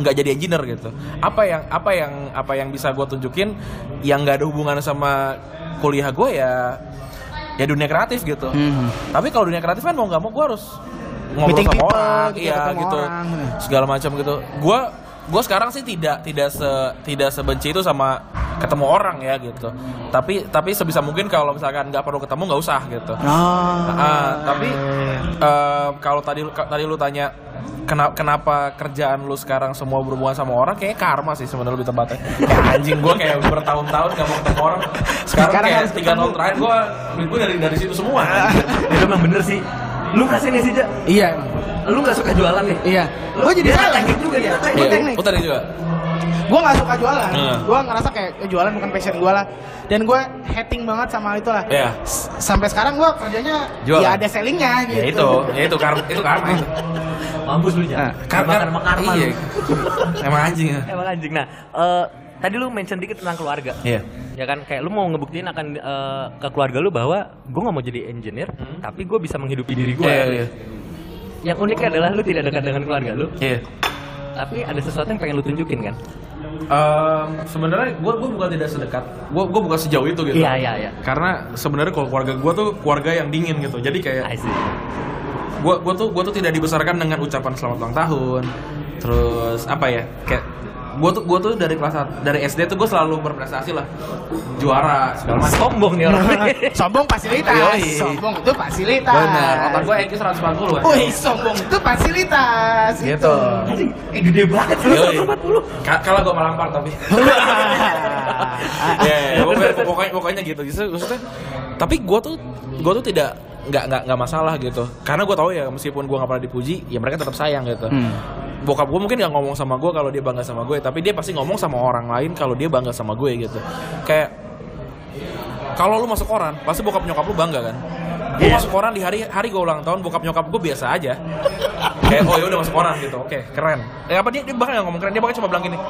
Speaker 3: nggak jadi engineer gitu. Apa yang apa yang apa yang bisa gue tunjukin yang nggak ada hubungan sama kuliah gue ya ya dunia kreatif gitu. Tapi kalau dunia kreatif kan mau nggak mau gue harus ngobrol
Speaker 1: Meeting
Speaker 3: sama
Speaker 1: people,
Speaker 3: orang,
Speaker 1: gitu,
Speaker 3: iya
Speaker 1: ketemu
Speaker 3: gitu,
Speaker 1: orang, gitu.
Speaker 3: segala macam gitu. Gue gue sekarang sih tidak tidak se tidak sebenci itu sama ketemu orang ya gitu. Tapi tapi sebisa mungkin kalau misalkan nggak perlu ketemu nggak usah gitu. Ah, tapi eh, kalau tadi ka- tadi lu tanya kenapa kenapa kerjaan lu sekarang semua berhubungan sama orang kayak karma sih sebenarnya lebih tepatnya. Kayak anjing gua kayak bertahun-tahun gak mau ketemu orang. Sekarang,
Speaker 1: Sekarang
Speaker 3: kayak
Speaker 1: harus
Speaker 3: tiga
Speaker 1: ketemu.
Speaker 3: tahun terakhir gua duit gua dari dari situ semua.
Speaker 2: Itu emang bener sih. Lu kasih nih sih, Ja.
Speaker 1: iya
Speaker 2: Lu gak suka jualan nih.
Speaker 1: iya gue jadi salah juga ya
Speaker 3: Iya,
Speaker 1: gue teknik
Speaker 3: lu tadi juga.
Speaker 1: gue nggak suka jualan
Speaker 3: Iya.
Speaker 1: gue ngerasa kayak eh, jualan bukan passion gue lah dan gue hating banget sama itu lah
Speaker 3: Iya.
Speaker 1: S- sampai sekarang gue kerjanya
Speaker 3: Jualan.
Speaker 1: ya ada sellingnya gitu
Speaker 3: Ya itu, ya itu karma, itu karma. itu.
Speaker 2: Eh, Mampus lu, Ja. Karma karma karma.
Speaker 3: Iya.
Speaker 2: lu.
Speaker 3: Emang anjing ya.
Speaker 2: Emang anjing. Nah, eh, tadi lu mention dikit tentang keluarga.
Speaker 3: Iya.
Speaker 2: Ya kan, kayak lu mau ngebuktiin akan eh, ke keluarga lu bahwa gue nggak mau jadi engineer, tapi gue bisa menghidupi diri gue.
Speaker 3: Iya, iya.
Speaker 2: Yang uniknya adalah lu tidak dekat dengan keluarga lu,
Speaker 3: Iya.
Speaker 2: tapi ada sesuatu yang pengen lu tunjukin kan?
Speaker 3: Em, sebenarnya gue gue bukan tidak sedekat, gue gue bukan sejauh itu gitu.
Speaker 2: Iya, iya, iya.
Speaker 3: Karena sebenarnya kalau keluarga gue tuh keluarga yang dingin gitu. Jadi
Speaker 2: I
Speaker 3: kayak
Speaker 2: see.
Speaker 3: gue gue tuh gue tuh tidak dibesarkan dengan ucapan selamat ulang tahun terus apa ya kayak gue tuh gue tuh dari kelas sat- dari SD tuh gue selalu berprestasi lah juara segala macam
Speaker 2: Sombong nih orang.
Speaker 3: Iya.
Speaker 1: sombong fasilitas
Speaker 3: Yoi.
Speaker 1: sombong itu fasilitas
Speaker 3: iya. benar otak gue IQ 140 kan
Speaker 1: Wih, sombong itu fasilitas
Speaker 3: gitu
Speaker 2: Anjing, eh, gede banget lu
Speaker 3: Yoi.
Speaker 2: 140.
Speaker 3: Ka- kalah gue malampar tapi
Speaker 1: Iya,
Speaker 3: ya ya, pokoknya, pokoknya pokoknya gitu Justru- maksudnya tapi gue tuh gue tuh tidak nggak nggak nggak masalah gitu karena gue tahu ya meskipun gue nggak pernah dipuji ya mereka tetap sayang gitu bokap gue mungkin nggak ngomong sama gue kalau dia bangga sama gue tapi dia pasti ngomong sama orang lain kalau dia bangga sama gue gitu kayak Kalau lu masuk koran, pasti bokap nyokap lu bangga kan? Gue masuk koran di hari hari gue ulang tahun, bokap nyokap gue biasa aja. Kayak oh ya udah masuk koran gitu, oke keren. Eh apa dia, dia bahkan nggak ngomong keren, dia bahkan cuma bilang gini.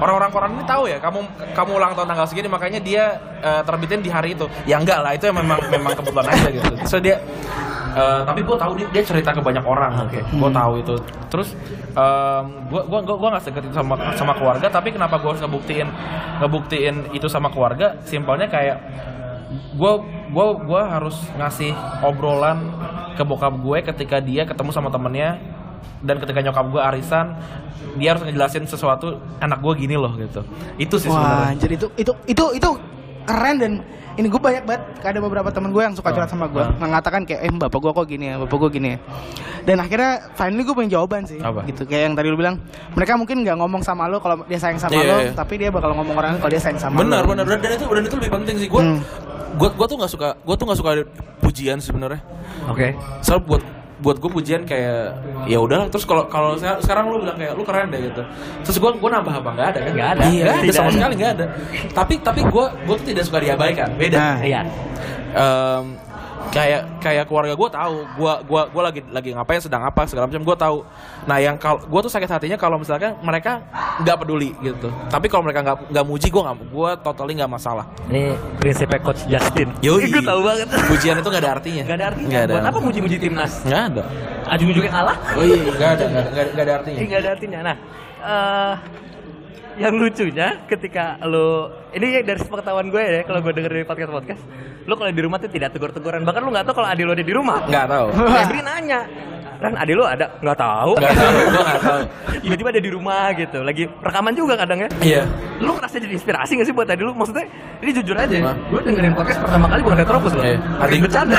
Speaker 3: Orang-orang koran ini tahu ya, kamu kamu ulang tahun tanggal segini, makanya dia eh, terbitin di hari itu. Ya enggak lah, itu memang memang kebetulan aja gitu. So dia eh, tapi gue tahu dia, dia cerita ke banyak orang, oke, gue tahu itu. Terus gue gue gue gue nggak sedeketin sama sama keluarga, tapi kenapa gue harus ngebuktiin ngebuktiin itu sama keluarga? Simpelnya kayak gue gua gua harus ngasih obrolan ke bokap gue ketika dia ketemu sama temennya dan ketika nyokap gue arisan dia harus ngejelasin sesuatu anak gue gini loh gitu itu sih
Speaker 1: Wah,
Speaker 3: sebenarnya
Speaker 1: anjir itu itu itu itu keren dan ini gue banyak banget ada beberapa temen gue yang suka curhat sama gue
Speaker 3: Ah.
Speaker 1: mengatakan kayak eh bapak gue kok gini ya bapak gue gini ya dan akhirnya finally gue punya jawaban sih
Speaker 3: Apa?
Speaker 1: gitu kayak yang tadi lu bilang mereka mungkin nggak ngomong sama lo kalau dia sayang sama
Speaker 3: Iya,
Speaker 1: lo
Speaker 3: iya.
Speaker 1: tapi dia bakal ngomong orang kalau dia sayang sama
Speaker 3: benar
Speaker 1: lo.
Speaker 3: benar dan dan itu dan itu lebih penting sih gue
Speaker 1: Hmm.
Speaker 3: gue tuh nggak suka gue tuh nggak suka ada pujian sebenarnya
Speaker 2: Oke.
Speaker 3: soal buat buat gue pujian kayak ya udahlah terus kalau kalau se- sekarang lu bilang kayak lu keren deh gitu terus gue gue nambah apa nggak ada kan
Speaker 2: Nggak ada.
Speaker 3: Iya, nggak ada
Speaker 2: Tidak
Speaker 3: sama
Speaker 2: ada.
Speaker 3: sekali nggak ada tapi tapi gue gue tuh tidak suka diabaikan beda
Speaker 1: Nah.
Speaker 2: Iya.
Speaker 3: Em, kayak kayak keluarga gue tahu gue gua gua lagi lagi ngapain sedang apa segala macam gue tahu nah yang kalau gue tuh sakit hatinya kalau misalkan mereka nggak peduli gitu tapi kalau mereka nggak nggak muji gue nggak gue totally nggak masalah
Speaker 2: Ini prinsipnya coach Justin.
Speaker 3: Yoi.
Speaker 2: Gue tahu banget.
Speaker 3: pujian itu nggak ada artinya
Speaker 2: Gak ada artinya.
Speaker 3: nggak ada
Speaker 2: Buat apa muji-muji timnas?
Speaker 3: nggak ada
Speaker 2: Ujung-ujungnya kalah.
Speaker 3: oh iya nggak ada nggak ada- nggak ada- nggak ada artinya
Speaker 2: Ini nggak ada artinya. Nah, eh, yang lucunya ketika lo ini dari sepengetahuan gue ya kalau gue denger dari podcast podcast lo kalau di rumah tuh tidak tegur-teguran bahkan lo nggak tahu kalau adil lo ada di rumah
Speaker 3: nggak tahu
Speaker 2: Febri nanya Ran adil lo ada nggak tahu
Speaker 3: nggak tahu gue nggak tahu
Speaker 2: tiba-tiba ada di rumah gitu lagi rekaman juga kadang ya
Speaker 3: iya
Speaker 2: lu ngerasa jadi inspirasi gak sih buat tadi lu? Maksudnya, ini jujur aja,
Speaker 3: Hah?
Speaker 2: gue dengerin podcast pertama kali bukan Retropus loh.
Speaker 3: Iya.
Speaker 2: Hati bercanda.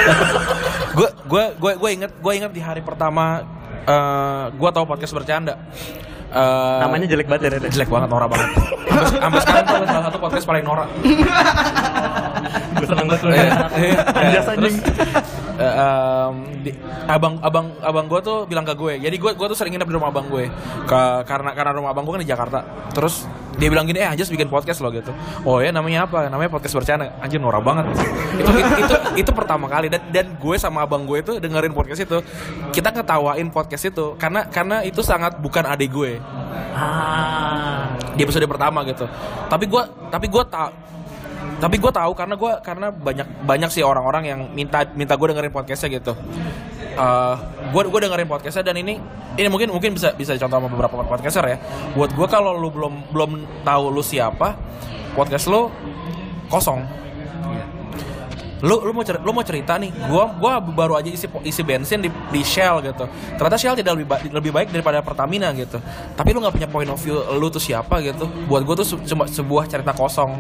Speaker 3: gue gue gue gue inget gue inget di hari pertama eh gue tahu podcast bercanda Eh,
Speaker 2: Namanya jelek banget ya, Ren.
Speaker 3: jelek banget norak banget sampai, sampai sekarang tuh salah satu podcast paling norak
Speaker 2: Gue seneng banget lu.
Speaker 3: Iya, iya.
Speaker 2: Anjas ya. anjing.
Speaker 3: Eh, em, di- abang abang abang gue tuh bilang ke gue jadi gue gue tuh sering nginep di rumah abang gue Ke- karena karena rumah abang gue kan di Jakarta terus dia bilang gini eh Anjas bikin podcast loh gitu oh ya namanya apa namanya podcast bercanda anjir norak banget itu, itu itu itu pertama kali dan dan gue sama abang gue itu dengerin podcast itu kita ketawain podcast itu karena karena itu sangat bukan adik gue
Speaker 2: Ah.
Speaker 3: di episode pertama gitu. Tapi gua tapi gua tak tapi gue tahu karena gua karena banyak banyak sih orang-orang yang minta minta gue dengerin podcastnya gitu. Eh, gue gue dengerin podcastnya dan ini ini mungkin mungkin bisa bisa contoh sama beberapa podcaster ya. Buat gue kalau lu belum belum tahu lu siapa, podcast lu kosong. Lu lu mau cerita, lu mau cerita nih, gua gua baru aja isi isi bensin di, di Shell gitu. Ternyata Shell tidak lebih ba- lebih baik daripada Pertamina gitu. Tapi lu nggak punya point of view lu tuh siapa gitu. Buat gua tuh se- cuma sebuah cerita kosong.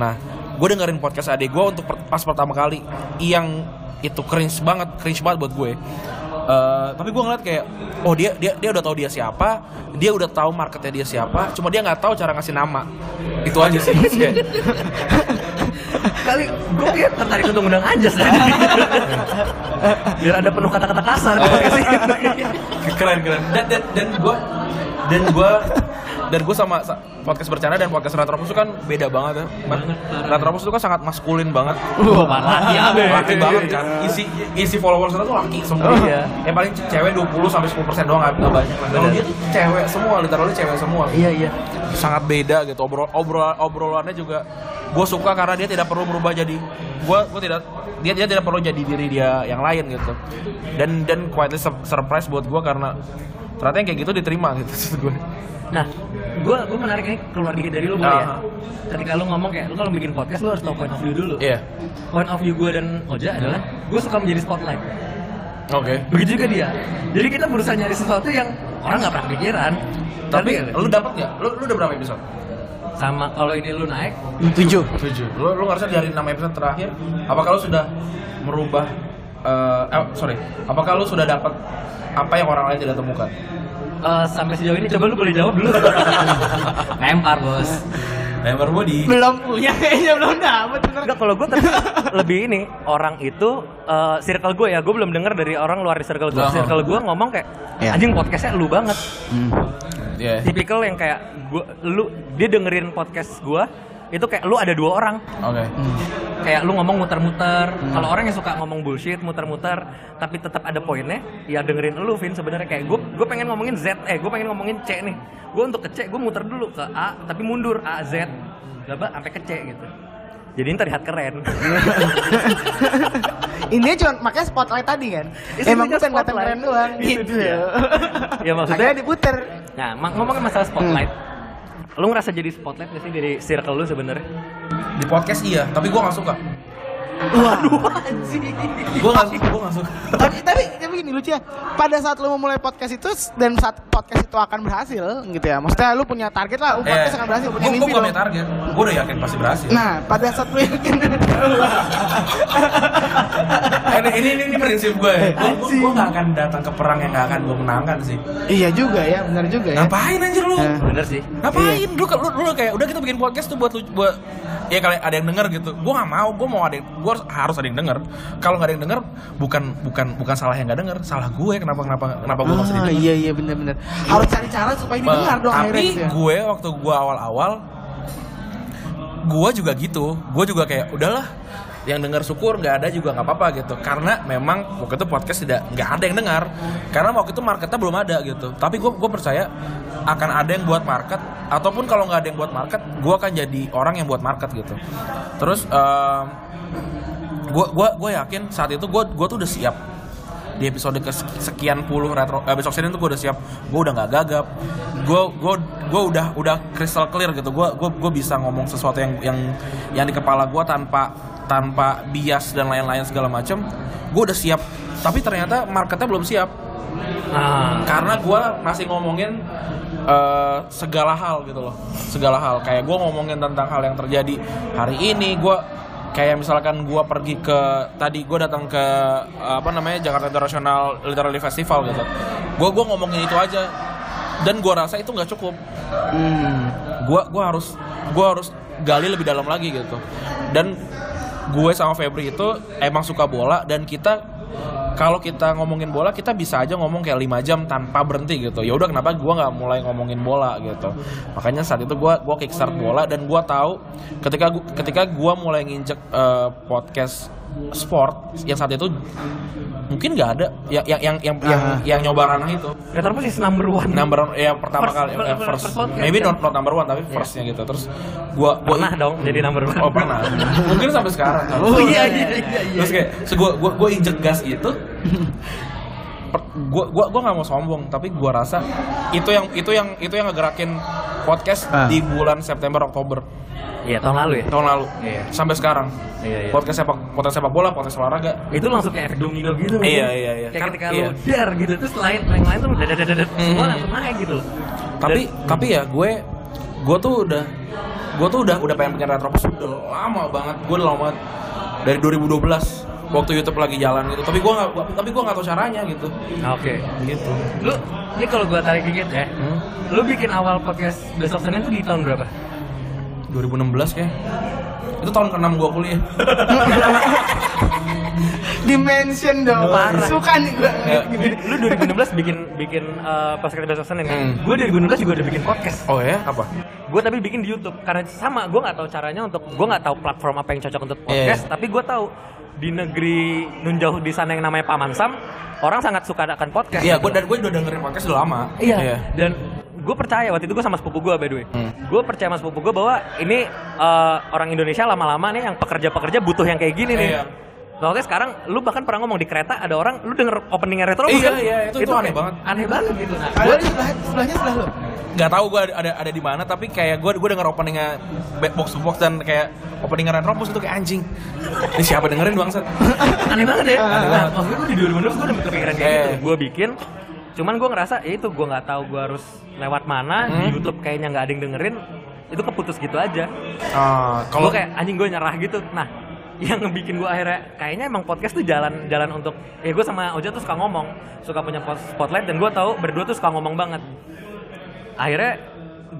Speaker 3: Nah, gue dengerin podcast adik gua untuk per- pas pertama kali yang itu cringe banget, cringe banget buat gue. Eh, tapi gue ngeliat kayak oh dia dia dia udah tahu dia siapa dia udah tahu marketnya dia siapa cuma dia nggak tahu cara ngasih nama itu aja sih Kayak-
Speaker 2: Kali gue kayak tertarik untuk ngundang Anjas tadi. Biar ada penuh kata-kata kasar. di
Speaker 3: Oh,
Speaker 2: podcast ini.
Speaker 3: iya. keren keren dan dan dan gue dan gue dan gue sama sa- podcast bercanda dan podcast retropus itu kan beda banget ya Mas- retropus itu kan sangat maskulin banget
Speaker 2: Wah, laki abe.
Speaker 3: Iya, laki banget kan isi isi followers kita tuh laki semua
Speaker 2: Iya.
Speaker 3: yang paling ce- cewek 20 sampai 10 persen doang nggak nggak banyak kalau dia tuh cewek semua literally cewek semua
Speaker 2: Iya, iya.
Speaker 3: sangat beda gitu obrol obrol obrolannya juga gue suka karena dia tidak perlu berubah jadi gue gue tidak dia dia tidak perlu jadi diri dia yang lain gitu dan dan quietly sur- surprise buat gue karena ternyata yang kayak gitu diterima gitu maksud gue
Speaker 2: Nah, gue gue menarik ini keluar dikit dari lu boleh ya.
Speaker 3: Aha.
Speaker 2: Ketika lu ngomong kayak lu kalau bikin podcast lu harus tahu point of view dulu.
Speaker 3: Iya.
Speaker 2: Point of view gue dan Oja adalah gue suka menjadi spotlight.
Speaker 3: oke
Speaker 2: Begitu juga dia. Jadi kita berusaha nyari sesuatu yang orang nggak pernah pikiran.
Speaker 3: tapi
Speaker 2: Ngerti nggak?
Speaker 3: lu dapat nggak lu lu udah berapa episode
Speaker 2: sama kalau ini lu naik,
Speaker 1: Tujuh.
Speaker 3: tujuh lu lu ngerasa dari enam episode terakhir apakah lu sudah merubah eh eh, sorry apakah lu sudah dapat apa yang orang lain tidak temukan
Speaker 2: eh, sampai sejauh ini coba lu boleh jawab dulu. Lempar bos.
Speaker 3: Lempar body
Speaker 1: Belum punya kayaknya belum dapet bener.
Speaker 2: Enggak kalau gue lebih ini orang itu eh, circle gue ya gue belum dengar dari orang luar di circle gue.
Speaker 3: Aha.
Speaker 2: Circle gue ngomong kayak
Speaker 1: Iya.
Speaker 2: anjing podcastnya lu banget.
Speaker 1: Hmm.
Speaker 3: ya
Speaker 2: Tipikal yang kayak gua, lu dia dengerin podcast gue itu kayak lu ada dua orang
Speaker 3: oke
Speaker 2: kayak lu ngomong muter-muter kalau orang yang suka ngomong bullshit muter-muter tapi tetap ada poinnya ya dengerin lu Vin sebenarnya kayak gue gue pengen ngomongin Z eh gue pengen ngomongin C nih gue untuk ke C gue muter dulu ke A tapi mundur A Z gak sampai ke C gitu jadi ini terlihat keren
Speaker 1: Ini cuma makanya spotlight tadi kan.
Speaker 2: Isinya
Speaker 1: Emang bukan
Speaker 2: spotlight.
Speaker 1: kelihatan keren doang
Speaker 2: Itu
Speaker 1: gitu.
Speaker 2: dia. Ya, maksudnya-
Speaker 1: Akhirnya diputer.
Speaker 2: nah ma- ngomongin masalah spotlight lu ngerasa jadi spotlight gak sih dari circle lu sebenarnya
Speaker 3: di podcast iya tapi gue nggak suka
Speaker 1: Waduh anjing.
Speaker 3: gue nggak suka gue nggak suka
Speaker 1: tapi, tapi tapi gini lucu ya. Pada saat lu memulai podcast itu dan saat podcast itu akan berhasil gitu ya. Maksudnya lu punya target
Speaker 2: Iya.
Speaker 1: lah, oh, podcast
Speaker 3: Iya.
Speaker 1: akan berhasil, punya
Speaker 3: gue
Speaker 1: mimpi
Speaker 3: punya
Speaker 1: dong.
Speaker 3: target gue udah yakin pasti berhasil
Speaker 1: Nah, pada saat lu yakin
Speaker 3: ini, Nah, ini ini ini prinsip gue ya gue gue nggak akan datang ke perang yang nggak akan gue menangkan sih
Speaker 1: Iya juga ya, benar juga ya.
Speaker 3: ngapain anjir lu
Speaker 1: Eh.
Speaker 2: bener sih
Speaker 3: ngapain lu, lu lu kayak udah kita bikin podcast tuh buat lu buat ya kalau ada yang denger gitu gue nggak mau gue mau ada yang, gue harus, harus ada yang denger kalau nggak ada yang denger bukan bukan bukan salah yang nggak denger salah gue kenapa kenapa kenapa gue masih
Speaker 1: Ah,
Speaker 3: didengar
Speaker 1: iya iya benar-benar. Harus cari cara supaya didengar dong akhirnya.
Speaker 3: tapi
Speaker 1: gitu ya.
Speaker 3: gue waktu gue awal-awal gue juga gitu gue juga kayak udahlah yang dengar syukur nggak ada juga nggak apa-apa gitu karena memang waktu itu podcast tidak nggak ada yang dengar karena waktu itu marketnya belum ada gitu tapi gue gue percaya akan ada yang buat market ataupun kalau nggak ada yang buat market gue akan jadi orang yang buat market gitu terus gue gua gue yakin saat itu gue gue tuh udah siap di episode kesekian puluh retro eh, besok senin tuh gue udah siap gue udah nggak gagap gue gue gue udah udah crystal clear gitu gue gue gue bisa ngomong sesuatu yang yang yang di kepala gue tanpa tanpa bias dan lain-lain segala macem gue udah siap tapi ternyata marketnya belum siap
Speaker 2: ah
Speaker 3: karena gue masih ngomongin eh, segala hal gitu loh segala hal kayak gue ngomongin tentang hal yang terjadi hari ini gue kayak misalkan gue pergi ke tadi gue datang ke eh, apa namanya Jakarta International Literary Festival gitu gue gue ngomongin itu aja dan gue rasa itu nggak cukup
Speaker 1: Hmm.
Speaker 3: gue gua harus gua harus gali lebih dalam lagi gitu dan gue sama Febri itu emang suka bola dan kita kalau kita ngomongin bola kita bisa aja ngomong kayak 5 jam tanpa berhenti gitu ya udah kenapa gue nggak mulai ngomongin bola gitu makanya saat itu gue gua kickstart bola dan gue tahu ketika gua, ketika gue mulai nginjek eh, podcast sport yang saat itu mungkin nggak ada yang yang yang yang, yang, yang nyoba ranah itu
Speaker 2: Retro Persis number one
Speaker 3: number one, ya pertama
Speaker 2: First-
Speaker 3: kali
Speaker 2: per-
Speaker 3: eh,
Speaker 2: per-
Speaker 3: first,
Speaker 2: first podcast,
Speaker 3: maybe
Speaker 2: kan?
Speaker 3: not, not number one tapi firstnya gitu terus gua gua
Speaker 2: pernah dong jadi number one
Speaker 3: oh pernah mungkin sampai sekarang kan.
Speaker 2: oh iya iya iya, iya.
Speaker 3: terus kayak so, gua gua gua injek gas gitu Per- gua gua gua nggak mau sombong tapi gua rasa itu yang itu yang itu yang ngegerakin podcast
Speaker 1: Ah.
Speaker 3: di bulan September Oktober
Speaker 2: Iya tahun lalu ya.
Speaker 3: tahun lalu
Speaker 2: Iya.
Speaker 3: sampai sekarang
Speaker 2: Iya, iya.
Speaker 3: podcast sepak podcast sepak bola podcast olahraga
Speaker 2: Itu langsung kayak efek domino gitu. kan?
Speaker 3: Iya, iya, iya.
Speaker 2: Kayak
Speaker 3: Kan-
Speaker 2: ketika
Speaker 3: iya.
Speaker 2: lu dar gitu terus lain yang lain tuh dadah dadah dadah semua
Speaker 3: Mm.
Speaker 2: langsung naik gitu. loh.
Speaker 3: tapi
Speaker 2: Dan-
Speaker 3: tapi ya gue gue tuh udah gue tuh udah udah pengen bikin retropus udah lama banget gue udah lama banget dari 2012 waktu YouTube lagi jalan gitu tapi gue nggak tapi gue nggak tahu caranya gitu
Speaker 2: Oke.
Speaker 3: gitu
Speaker 2: Lu ini kalau gua tarik dikit ya. Lu bikin awal podcast besok Senin tuh di tahun berapa?
Speaker 3: 2016 ya itu tahun ke-6 gue kuliah
Speaker 1: Dimension dong.
Speaker 2: Parah.
Speaker 1: Suka nih gue.
Speaker 3: Ya.
Speaker 2: Lu 2016 bikin bikin eh, pas kita besok Senin kan.
Speaker 3: Mm.
Speaker 2: Gua 2016 juga udah bikin podcast.
Speaker 3: oh ya apa
Speaker 2: Gue tapi bikin di YouTube karena sama gue nggak tahu caranya untuk gue nggak tahu platform apa yang cocok untuk
Speaker 3: Iya,
Speaker 2: podcast,
Speaker 3: iya.
Speaker 2: tapi gue tahu di negeri nun jauh di sana yang namanya Paman Sam, orang sangat suka akan podcast.
Speaker 3: iya gue dan gue udah dengerin podcast udah lama
Speaker 2: Iya. Dan gue percaya waktu itu gue sama sepupu gue by the way.
Speaker 3: Hmm.
Speaker 2: Gue percaya sama sepupu gue bahwa ini eh, orang Indonesia lama-lama nih yang pekerja-pekerja butuh yang kayak gini nih.
Speaker 3: Iya.
Speaker 2: Makanya sekarang lu bahkan pernah ngomong di kereta ada orang lu denger openingnya retro
Speaker 3: Iya,
Speaker 2: kan?
Speaker 3: iya, itu- itu aneh
Speaker 2: kayak-
Speaker 3: banget.
Speaker 2: Aneh banget gitu. Nah,
Speaker 1: Ada di sebelah sebelahnya sebelah lo.
Speaker 3: nggak tahu gue ada ada di mana tapi kayak gue gue denger openingnya Back box to box dan kayak openingnya retropus itu kayak anjing ini siapa dengerin bangsat
Speaker 2: aneh banget ya.
Speaker 3: Aneh
Speaker 2: Nah,
Speaker 3: banget.
Speaker 2: maksud gue di 2012 gue udah kepikiran kayak
Speaker 3: Eh.
Speaker 2: gitu. Gue bikin, cuman gue ngerasa ya itu gue nggak tahu gue harus lewat mana di
Speaker 3: Hmm.
Speaker 2: YouTube kayaknya nggak ada yang dengerin. Itu keputus gitu aja.
Speaker 3: Ah,
Speaker 2: Kalau kayak anjing gue nyerah gitu. Nah, yang bikin gue akhirnya kayaknya emang podcast tuh jalan jalan untuk ya gue sama Oja tuh suka ngomong, suka punya pos- spotlight dan gue tahu berdua tuh suka ngomong banget. Akhirnya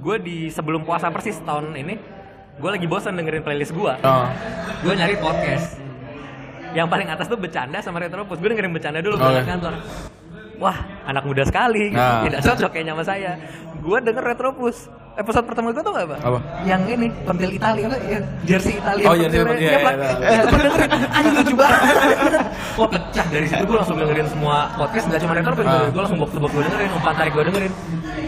Speaker 2: gue di sebelum puasa persis tahun ini gue lagi bosan dengerin playlist gue
Speaker 3: Ah.
Speaker 2: gue nyari podcast Hmm. yang paling atas tuh bercanda sama retropus gue dengerin bercanda dulu
Speaker 3: Oke.
Speaker 2: okay. kantor wah anak muda sekali gitu.
Speaker 3: Nah.
Speaker 2: tidak cocok kayaknya sama saya gue denger Retropus. Episode pertama gue tuh gak apa?
Speaker 3: Apa?
Speaker 2: Yang ini, pentil Italia, apa? Ya, jersey Italia.
Speaker 3: Oh, jersey,
Speaker 2: pentilnya.
Speaker 3: iya,
Speaker 2: Iya,
Speaker 3: iya,
Speaker 2: Pak.
Speaker 3: iya, iya.
Speaker 2: Eh, itu gue dengerin, anjing lucu banget. Wah, pecah dari situ gue langsung dengerin semua podcast, gak cuma Retropus,
Speaker 3: Ah.
Speaker 2: gue langsung box-box gue dengerin, umpan tarik gue dengerin.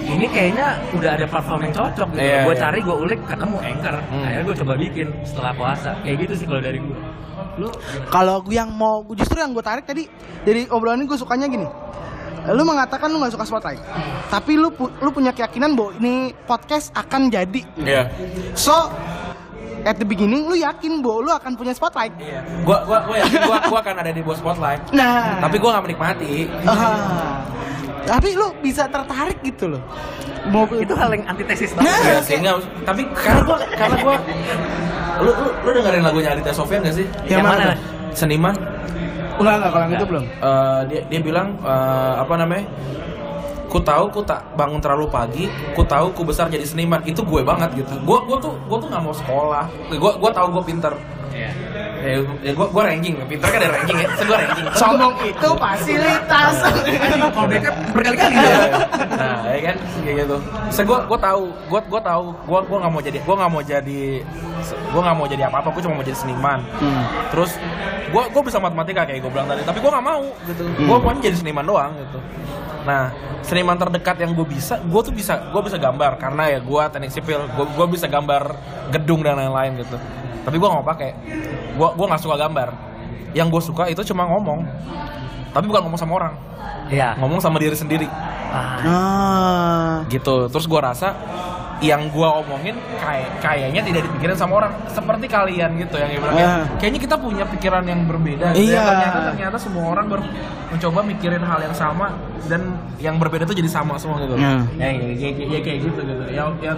Speaker 2: Ini kayaknya udah ada platform yang cocok gitu.
Speaker 3: Iya,
Speaker 2: gue
Speaker 3: iya.
Speaker 2: cari, gue ulik, ketemu Anchor.
Speaker 3: Hmm.
Speaker 2: Akhirnya gue coba bikin setelah puasa. Kayak gitu sih kalau dari gue. Lu gimana?
Speaker 1: Kalau gue yang mau justru yang gue tarik tadi dari obrolan ini gue sukanya gini. Lu mengatakan lu nggak suka spotlight, tapi lu pu- lu punya keyakinan bahwa ini podcast akan jadi.
Speaker 3: Iya.
Speaker 1: So at the beginning lu yakin bahwa lu akan punya spotlight.
Speaker 3: Iya. Gua gua gua yakin gua gua akan ada di bawah spotlight.
Speaker 1: Nah,
Speaker 3: Tapi gua nggak menikmati.
Speaker 1: Ah. tapi lu bisa tertarik gitu loh. Mau
Speaker 2: Itu hal yang antitesis banget.
Speaker 1: Nah,
Speaker 3: Iya
Speaker 1: oke.
Speaker 3: sih, nggak maksud- Tapi karena gua karena gua lu lu, lu dengerin lagunya Aditya Sofyan gak sih?
Speaker 1: Yang mana?
Speaker 3: tuh? Seniman.
Speaker 1: enggak enggak kalau yang itu belum.
Speaker 3: Eh, dia dia bilang eh, apa namanya? Ku tahu ku tak bangun terlalu pagi, ku tahu ku besar jadi seniman. Itu gue banget gitu. Gua gua tuh gua tuh nggak mau sekolah. Gua gua tahu gua pinter. Ya, ya gua gua ranking, pinter kan ada ranking ya. So, gua ranking.
Speaker 1: Sombong itu fasilitas.
Speaker 2: Kalau backup berkali-kali
Speaker 3: Iya. nah ya kan kayak gitu Terus gue gue tahu gue gue tahu gue gue nggak mau jadi gue nggak mau jadi gue nggak mau jadi apa apa gue cuma mau jadi seniman terus gue gue bisa matematika kayak gue bilang tadi tapi gue nggak mau gitu
Speaker 2: Hmm.
Speaker 3: gue maunya jadi seniman doang gitu nah seniman terdekat yang gue bisa gue tuh bisa gue bisa gambar karena ya gue teknik sipil gue gue bisa gambar gedung dan lain-lain gitu tapi gue nggak mau pakai gue gue nggak suka gambar yang gue suka itu cuma ngomong tapi bukan ngomong sama orang
Speaker 2: Iya.
Speaker 3: ngomong sama diri sendiri
Speaker 2: Ah,
Speaker 1: Ah.
Speaker 3: gitu terus gua rasa yang gua omongin kayak kayaknya tidak dipikirin sama orang seperti kalian gitu yang
Speaker 1: Ah.
Speaker 3: ibaratnya kayaknya kita punya pikiran yang berbeda gitu
Speaker 1: Iya.
Speaker 3: ya. ternyata ternyata semua orang baru mencoba mikirin hal yang sama dan yang berbeda tuh jadi sama semua gitu
Speaker 1: Iya.
Speaker 3: ya, ya, ya, ya, ya, kayak gitu gitu ya, ya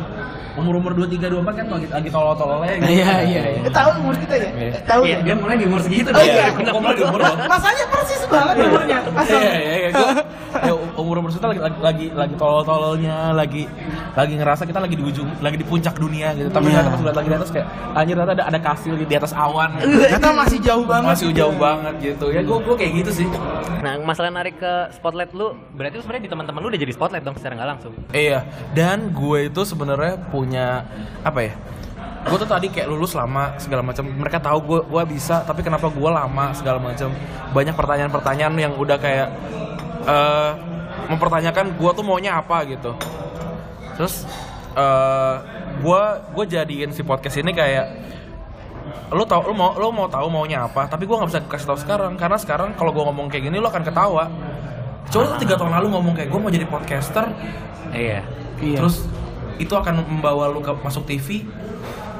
Speaker 3: umur umur dua tiga dua empat kan lagi lagi tolol tololnya gitu.
Speaker 2: Iya, iya, iya.
Speaker 1: Tahu umur kita ya?
Speaker 3: Iya.
Speaker 1: Tahu
Speaker 2: Iya,
Speaker 1: ya?
Speaker 2: dia mulai di umur segitu.
Speaker 1: Oh, iya.
Speaker 3: Gua mulai di umur dua.
Speaker 1: Masanya persis banget umurnya.
Speaker 3: Iya,
Speaker 1: Asal.
Speaker 3: iya, iya. Gua- ya, umur umur kita lagi lagi lagi tolol-tololnya, lagi lagi ngerasa kita lagi di ujung, lagi di puncak dunia gitu. Tapi
Speaker 1: Iya.
Speaker 3: ternyata pas lihat lagi di atas kayak anjir ternyata ada ada kastil di atas awan. gitu.
Speaker 1: Ternyata masih jauh banget.
Speaker 3: Masih jauh banget gitu. Ya gua gua kayak gitu sih.
Speaker 2: Nah, masalah narik ke spotlight lu, berarti lu sebenarnya di teman-teman lu udah jadi spotlight dong secara nggak langsung.
Speaker 3: Iya, dan gue itu sebenarnya punya apa ya? Gue tuh tadi kayak lulus lama segala macam. Mereka tahu gue gue bisa, tapi kenapa gue lama segala macam? Banyak pertanyaan-pertanyaan yang udah kayak eh mempertanyakan gue tuh maunya apa gitu. Terus eh gue gue jadiin si podcast ini kayak lu tau lu mau lu mau tahu maunya apa tapi gua nggak bisa kasih tahu sekarang karena sekarang kalau gua ngomong kayak gini lu akan ketawa coba tuh tiga tahun lalu ngomong kayak gua mau jadi podcaster
Speaker 2: Iya.
Speaker 3: Terus itu akan membawa lu ke masuk TV,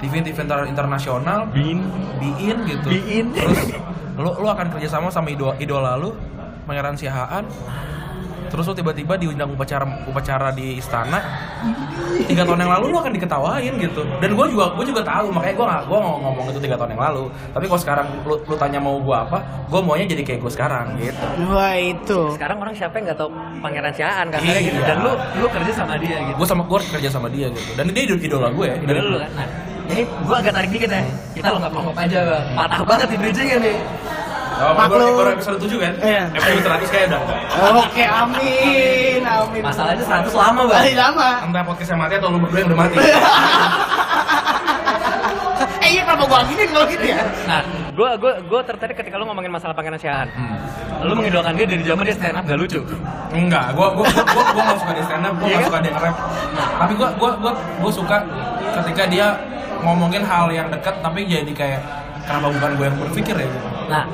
Speaker 3: TV TV inter- internasional,
Speaker 2: Bin.
Speaker 3: biin gitu.
Speaker 2: Biin.
Speaker 3: Terus lu lu akan kerjasama sama idola idola lu, Pangeran Sihaan. Terus lu tiba-tiba diundang upacara upacara di istana. Tiga tahun yang lalu lu akan diketawain gitu. Dan gue juga gue juga tahu makanya gue nggak gue ngomong itu tiga tahun yang lalu. Tapi kalau sekarang lu, lu tanya mau gue apa, gue maunya jadi kayak gue sekarang gitu.
Speaker 1: Wah itu.
Speaker 2: Sekarang orang siapa yang nggak tahu Pangeran Siaan kan
Speaker 3: Iya.
Speaker 2: gitu. Dan lu lu kerja sama dia gitu.
Speaker 3: Gue sama gue kerja sama dia gitu. Dan dia idol- idola gue. ya.
Speaker 2: Dari lu kan. Nah, ini gua agak tarik dikit ya. Kita lo nggak ngomong aja, Bang. Patah banget di bridging-nya nih.
Speaker 3: Oh,
Speaker 1: Maklum.
Speaker 3: baru, baru episode 7 kan?
Speaker 1: Iya.
Speaker 3: Episode 100 kayak udah.
Speaker 1: Oke, amin. Amin.
Speaker 2: Masalahnya 100 lama, Bang.
Speaker 1: Masih lama.
Speaker 3: Entah podcast yang mati atau lu berdua yang udah mati.
Speaker 1: Iya. eh iya kenapa gua gini kalau gitu ya?
Speaker 2: Nah, gua gua gua tertarik ketika lu ngomongin masalah Pangeran Siaan.
Speaker 3: Hmm.
Speaker 2: Lu mengidolakan dia dari zaman dia stand up gak lucu.
Speaker 3: Enggak, gua gua gua gua, gua gak suka dia stand up, gua
Speaker 2: Iya
Speaker 3: gak
Speaker 2: kan?
Speaker 3: suka dia rap. Tapi gua gua gua gua suka ketika dia ngomongin hal yang dekat tapi jadi kayak kenapa bukan gue yang berpikir ya gitu.
Speaker 2: Nah,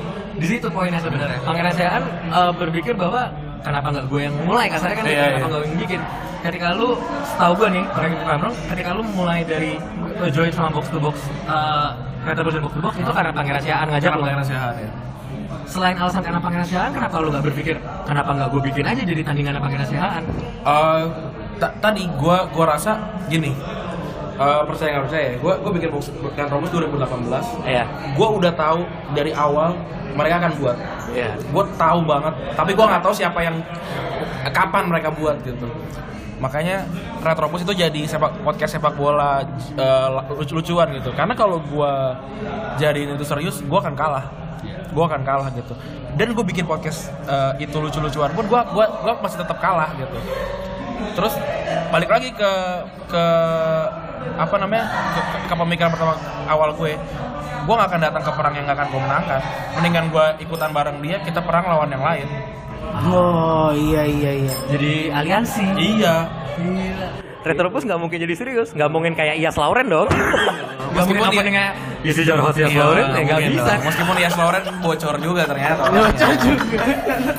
Speaker 2: di situ poinnya sebenarnya. Pangeran Siaan eh, berpikir bahwa kenapa nggak gue yang mulai kasarnya kan
Speaker 3: Iya,
Speaker 2: gitu,
Speaker 3: iya.
Speaker 2: kenapa nggak gue yang bikin. Ketika lu setahu gue nih, orang yang paham, ketika lu mulai dari eh, join sama box to box eh Retribution box to box itu karena Pangeran Siaan ngajak lu.
Speaker 3: Pangeran Siahaan ya.
Speaker 2: Selain alasan karena Pangeran Siaan, kenapa lu nggak berpikir kenapa nggak gue bikin aja jadi tandingan Pangeran Siaan?
Speaker 3: Eh, ta- tadi gua gua rasa gini. Eh, percaya nggak percaya ya? Gua gua bikin box Retrobus 2018.
Speaker 2: Iya.
Speaker 3: Gua udah tahu dari awal mereka akan buat.
Speaker 2: Iya.
Speaker 3: gue tahu banget tapi gue nggak tahu siapa yang kapan mereka buat gitu makanya Retropus itu jadi sepak podcast sepak bola eh, lucu-lucuan gitu karena kalau gue jadiin itu serius gue akan kalah gue akan kalah gitu dan gue bikin podcast eh, itu lucu-lucuan pun gue gua, gua masih tetap kalah gitu terus balik lagi ke ke apa namanya ke, ke- ke pemikiran pertama awal gue gue gak akan datang ke perang yang gak akan gue menangkan mendingan gue ikutan bareng dia kita perang lawan yang lain
Speaker 1: Oh iya iya iya.
Speaker 2: Jadi aliansi.
Speaker 3: iya
Speaker 2: Retropus nggak mungkin jadi serius, nggak mungkin kayak Ias Lauren dong. Nggak
Speaker 3: Meskipun
Speaker 2: mungkin
Speaker 3: dia- Iya,
Speaker 2: openingnya Yes, you don't host Ias Lauren, ya nggak
Speaker 3: mungkin
Speaker 2: bisa.
Speaker 3: dong. meskipun Yas Lauren bocor juga ternyata orangnya.
Speaker 1: Bocor juga.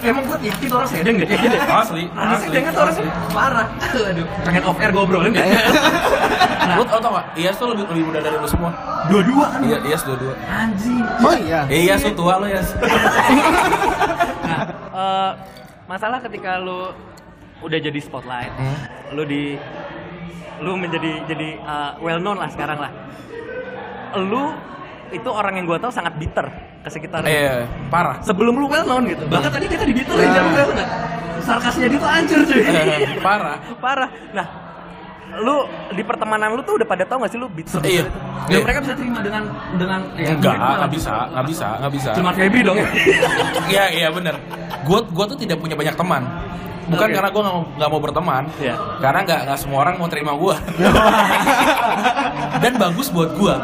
Speaker 5: Emang gue tipis orang sedeng deh.
Speaker 2: Iya.
Speaker 3: asli
Speaker 5: Harusnya
Speaker 3: asli
Speaker 5: jangan tuh orang
Speaker 3: asli.
Speaker 5: parah. Aduh, pengen off air ngobrolin deh.
Speaker 2: ya?
Speaker 3: Lu tau tau gak? Iyas tuh lebih lebih muda dari lu semua.
Speaker 5: Dua-dua kan.
Speaker 3: Iya, Iyas dua-dua.
Speaker 5: Anjing.
Speaker 1: Oh iya.
Speaker 3: Eh, Iyas tuh tua lu, Iyas.
Speaker 2: Nah, eh, masalah ketika lu udah jadi spotlight,
Speaker 3: Hmm?
Speaker 2: lu di lu menjadi jadi eh, well known lah sekarang lah. Lu itu orang yang gua tahu sangat bitter ke sekitarnya.
Speaker 3: Eh, Hmm. parah.
Speaker 2: Sebelum lu well known gitu.
Speaker 5: Bahkan tadi kita dibiterin
Speaker 1: Nah.
Speaker 5: jauh banget. Sarkasnya dia tuh hancur cuy.
Speaker 3: Eh, parah.
Speaker 2: Parah. Nah, lu di pertemanan lu tuh udah pada tahu gak sih lu bitter? Gitu.
Speaker 3: Iya.
Speaker 5: Dan
Speaker 3: Iya.
Speaker 5: mereka bisa terima dengan dengan
Speaker 2: Iya.
Speaker 5: ya,
Speaker 3: Enggak,
Speaker 5: mereka malah
Speaker 3: nggak bisa, nggak bisa, nggak bisa.
Speaker 5: Cuma Feby dong.
Speaker 3: Iya, iya bener. Gue gue tuh tidak punya banyak teman. Bukan
Speaker 2: Oke.
Speaker 3: karena gue nggak mau, nggak mau berteman,
Speaker 2: Iya.
Speaker 3: karena nggak nggak semua orang mau terima gue. Dan bagus buat gue.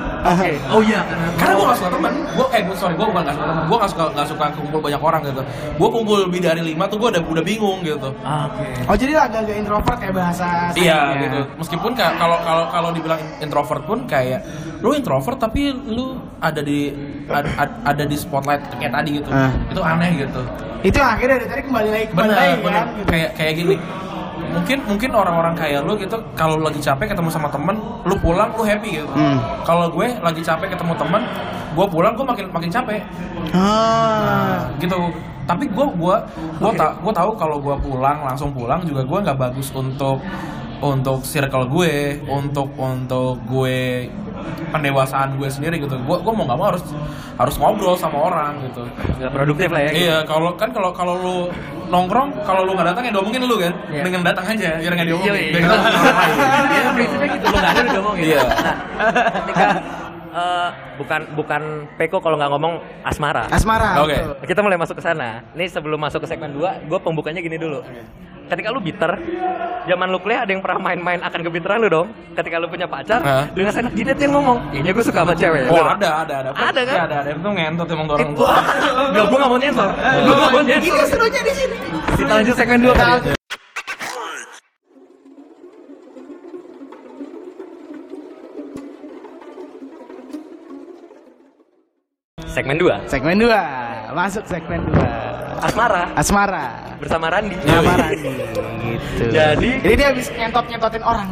Speaker 5: Oh iya, karena
Speaker 3: Karena gue gak suka teman. Gue eh gua- sorry gue bukan gak suka teman. Gue gak suka nggak suka kumpul banyak orang gitu. Gue kumpul lebih dari lima tuh gue udah udah bingung gitu.
Speaker 2: Oke.
Speaker 1: Oh jadi agak-agak introvert ya bahasa.
Speaker 3: Iya
Speaker 1: sayangnya.
Speaker 3: gitu. Meskipun ka- kalau kalau kalau dibilang introvert pun kayak lu introvert tapi lu ada di ad- ad- ada di spotlight kayak tadi gitu.
Speaker 2: Eh.
Speaker 1: Ah.
Speaker 3: Itu aneh gitu.
Speaker 1: Itu yang akhirnya dari tadi kembali lagi kembali
Speaker 3: Benar,
Speaker 1: lagi
Speaker 3: benar.
Speaker 1: kan. Gitu.
Speaker 3: Kayak kayak gini. Mungkin mungkin orang-orang kayak lu gitu kalau lagi capek ketemu sama temen, lu pulang lu happy gitu.
Speaker 1: Hmm.
Speaker 3: Kalau gue lagi capek ketemu temen, gue pulang gue makin makin capek
Speaker 1: Ah.
Speaker 3: gitu. Tapi gue gue gue tak gue tahu kalau gue pulang langsung pulang juga gue nggak bagus untuk untuk circle gue, untuk untuk gue pendewasaan gue sendiri gitu. Gue gue mau nggak mau harus harus ngobrol sama orang gitu.
Speaker 2: Nggak produktif lah ya.
Speaker 3: Iya, kalau kan kalau kalau lu nongkrong, kalau lu nggak datang ya diomongin lu kan.
Speaker 2: Iya.
Speaker 3: Dengan datang aja, biar nggak diomongin.
Speaker 2: Iya,
Speaker 3: Biar kita ngomongin orang lain.
Speaker 2: Iya, prinsipnya gitu. Lu nggak ada lu ngomong gitu.
Speaker 3: Iya.
Speaker 2: Nah, ketika eh, bukan bukan Peko kalau nggak ngomong asmara.
Speaker 1: Asmara.
Speaker 3: Oke.
Speaker 1: betul.
Speaker 2: Kita mulai masuk ke sana. Nih sebelum masuk ke segmen 2, gue pembukanya gini dulu. Ketika lu bitter, zaman lu kuliah ada yang pernah main-main akan kebiteran lu dong. Ketika lu punya pacar,
Speaker 3: Hah?
Speaker 2: dengan senang jidat dia ngomong, kayaknya gue suka sama cewek.
Speaker 3: Oh ada ada ada
Speaker 2: Iya. Ada, kan?
Speaker 3: Iya, ada ada itu ngentot emang orang
Speaker 2: Itu, gak, gue gak mau nyensor. Gue gak mau
Speaker 3: Iya.
Speaker 1: Ini
Speaker 2: nyensor.
Speaker 1: serunya di sini.
Speaker 2: Kita lanjut segmen 2 kali. Segmen 2
Speaker 1: Segmen 2. Masuk segmen 2.
Speaker 2: Asmara
Speaker 1: Asmara.
Speaker 2: bersama Randi.
Speaker 3: Iya.
Speaker 1: Asmara nih gitu.
Speaker 2: Jadi-
Speaker 1: ini dia habis ngentot-ngentotin orang.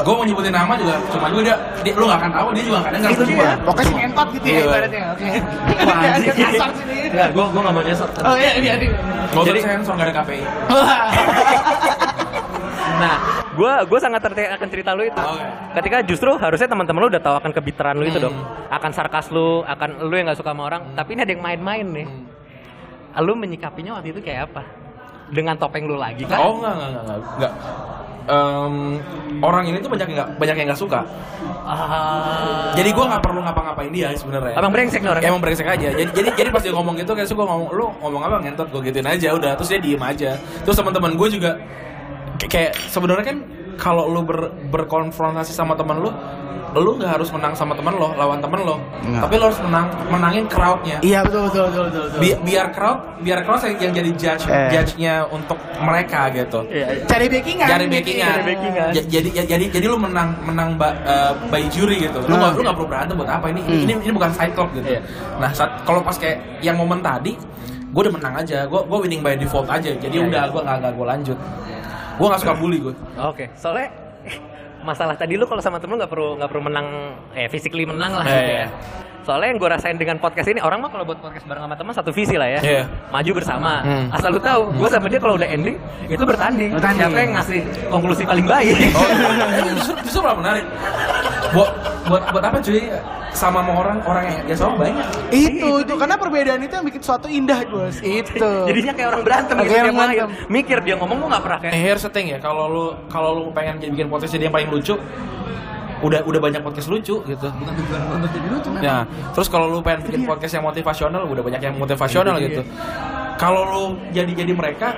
Speaker 3: Gue mau nyebutin nama juga, cuma gue dia, dia- lu gak akan tahu, dia juga gak akan denger.
Speaker 1: Itu dia. Pokoknya sih ngentot gitu ya
Speaker 3: Iya.
Speaker 1: ibaratnya. Oke.
Speaker 2: Wah, anjing.
Speaker 1: Dia kasar sini.
Speaker 2: Enggak, gua gua enggak mau nyesot.
Speaker 1: Oh iya iya. iya.
Speaker 3: Gue
Speaker 2: Jadi-
Speaker 3: tuh sensor gak ada KPI.
Speaker 2: Nah, gua gua sangat tertarik akan cerita lu itu.
Speaker 3: Oke.
Speaker 2: Ketika justru harusnya teman-teman lu udah tahu akan kebiteran lu itu
Speaker 3: Hmm.
Speaker 2: dong. Akan sarkas lu, akan lu yang nggak suka sama orang, tapi ini ada yang main-main nih. Lu menyikapinya waktu itu kayak apa? Dengan topeng lu lagi kan?
Speaker 3: Oh enggak enggak enggak enggak. enggak. Em, orang ini tuh banyak yang nggak banyak yang nggak suka. Jadi gue nggak perlu ngapa-ngapain dia sebenarnya.
Speaker 2: Ah. Abang brengsek nih
Speaker 4: ya?
Speaker 2: orangnya.
Speaker 3: Emang brengsek aja. Jadi jadi jadi pas dia ngomong gitu kayak gue ngomong lu ngomong apa ngentot gue gituin aja udah. Terus dia diem aja. Terus teman-teman gue juga k- kayak sebenarnya kan kalau lu ber- berkonfrontasi sama teman lu lu nggak harus menang sama teman lo lawan teman lo
Speaker 1: Nggak.
Speaker 3: tapi lu harus menang menangin crowdnya
Speaker 1: Iya betul betul betul betul. betul.
Speaker 3: Bi- biar crowd biar crowd yang, yang jadi judge
Speaker 1: Eh.
Speaker 3: judge-nya untuk mereka gitu
Speaker 2: Iya, iya.
Speaker 1: Cari backingan.
Speaker 3: Cari backingan.
Speaker 1: Cari backingan.
Speaker 3: Ja- jadi ja- jadi jadi lu menang menang ba- eh, by jury gitu.
Speaker 1: Nah.
Speaker 3: Lu
Speaker 1: Hmm.
Speaker 3: nggak lu nggak perlu berantem buat apa ini? Ini ini, ini bukan side club gitu.
Speaker 2: Iya.
Speaker 3: Nah, saat kalau pas kayak yang momen tadi, gue udah menang aja. Gue gue winning by default aja. Jadi
Speaker 2: Iya,
Speaker 3: udah gue nggak nggak gue lanjut. Gue nggak suka bully gue.
Speaker 2: Oke, soalnya eh, masalah tadi lu kalau sama temen lu nggak perlu nggak perlu menang eh physically menang lah
Speaker 3: Iya,
Speaker 2: gitu
Speaker 3: iya.
Speaker 2: ya. Soalnya yang gue rasain dengan podcast ini orang mah kalau buat podcast bareng sama teman satu visi lah ya.
Speaker 3: Iya.
Speaker 2: Maju bersama.
Speaker 3: Hmm.
Speaker 2: Asal lu tahu, gue sama dia kalau udah ending itu bertanding.
Speaker 1: Bertanding.
Speaker 2: Siapa yang ngasih konklusi paling baik?
Speaker 3: Oh, justru justru malah menarik. Buat buat buat apa cuy? Sama sama orang orang yang ya sama banyak.
Speaker 1: Itu itu karena perbedaan itu yang bikin suatu indah bos. Itu.
Speaker 2: Jadinya kayak orang berantem
Speaker 1: Kayak
Speaker 2: gitu
Speaker 1: orang
Speaker 2: tiap malam.
Speaker 1: berantem.
Speaker 2: Mikir dia ngomong gue nggak pernah kayak.
Speaker 3: Eh, here's the thing ya, kalau lu kalau lu pengen jadi bikin podcast jadi yang paling lucu, udah udah banyak podcast lucu gitu.
Speaker 1: untuk jadi lucu. kan?
Speaker 3: Ya, terus kalau lu pengen bikin
Speaker 1: Iya.
Speaker 3: podcast yang motivasional, udah banyak yang motivasional gitu. Kalau lu jadi jadi mereka,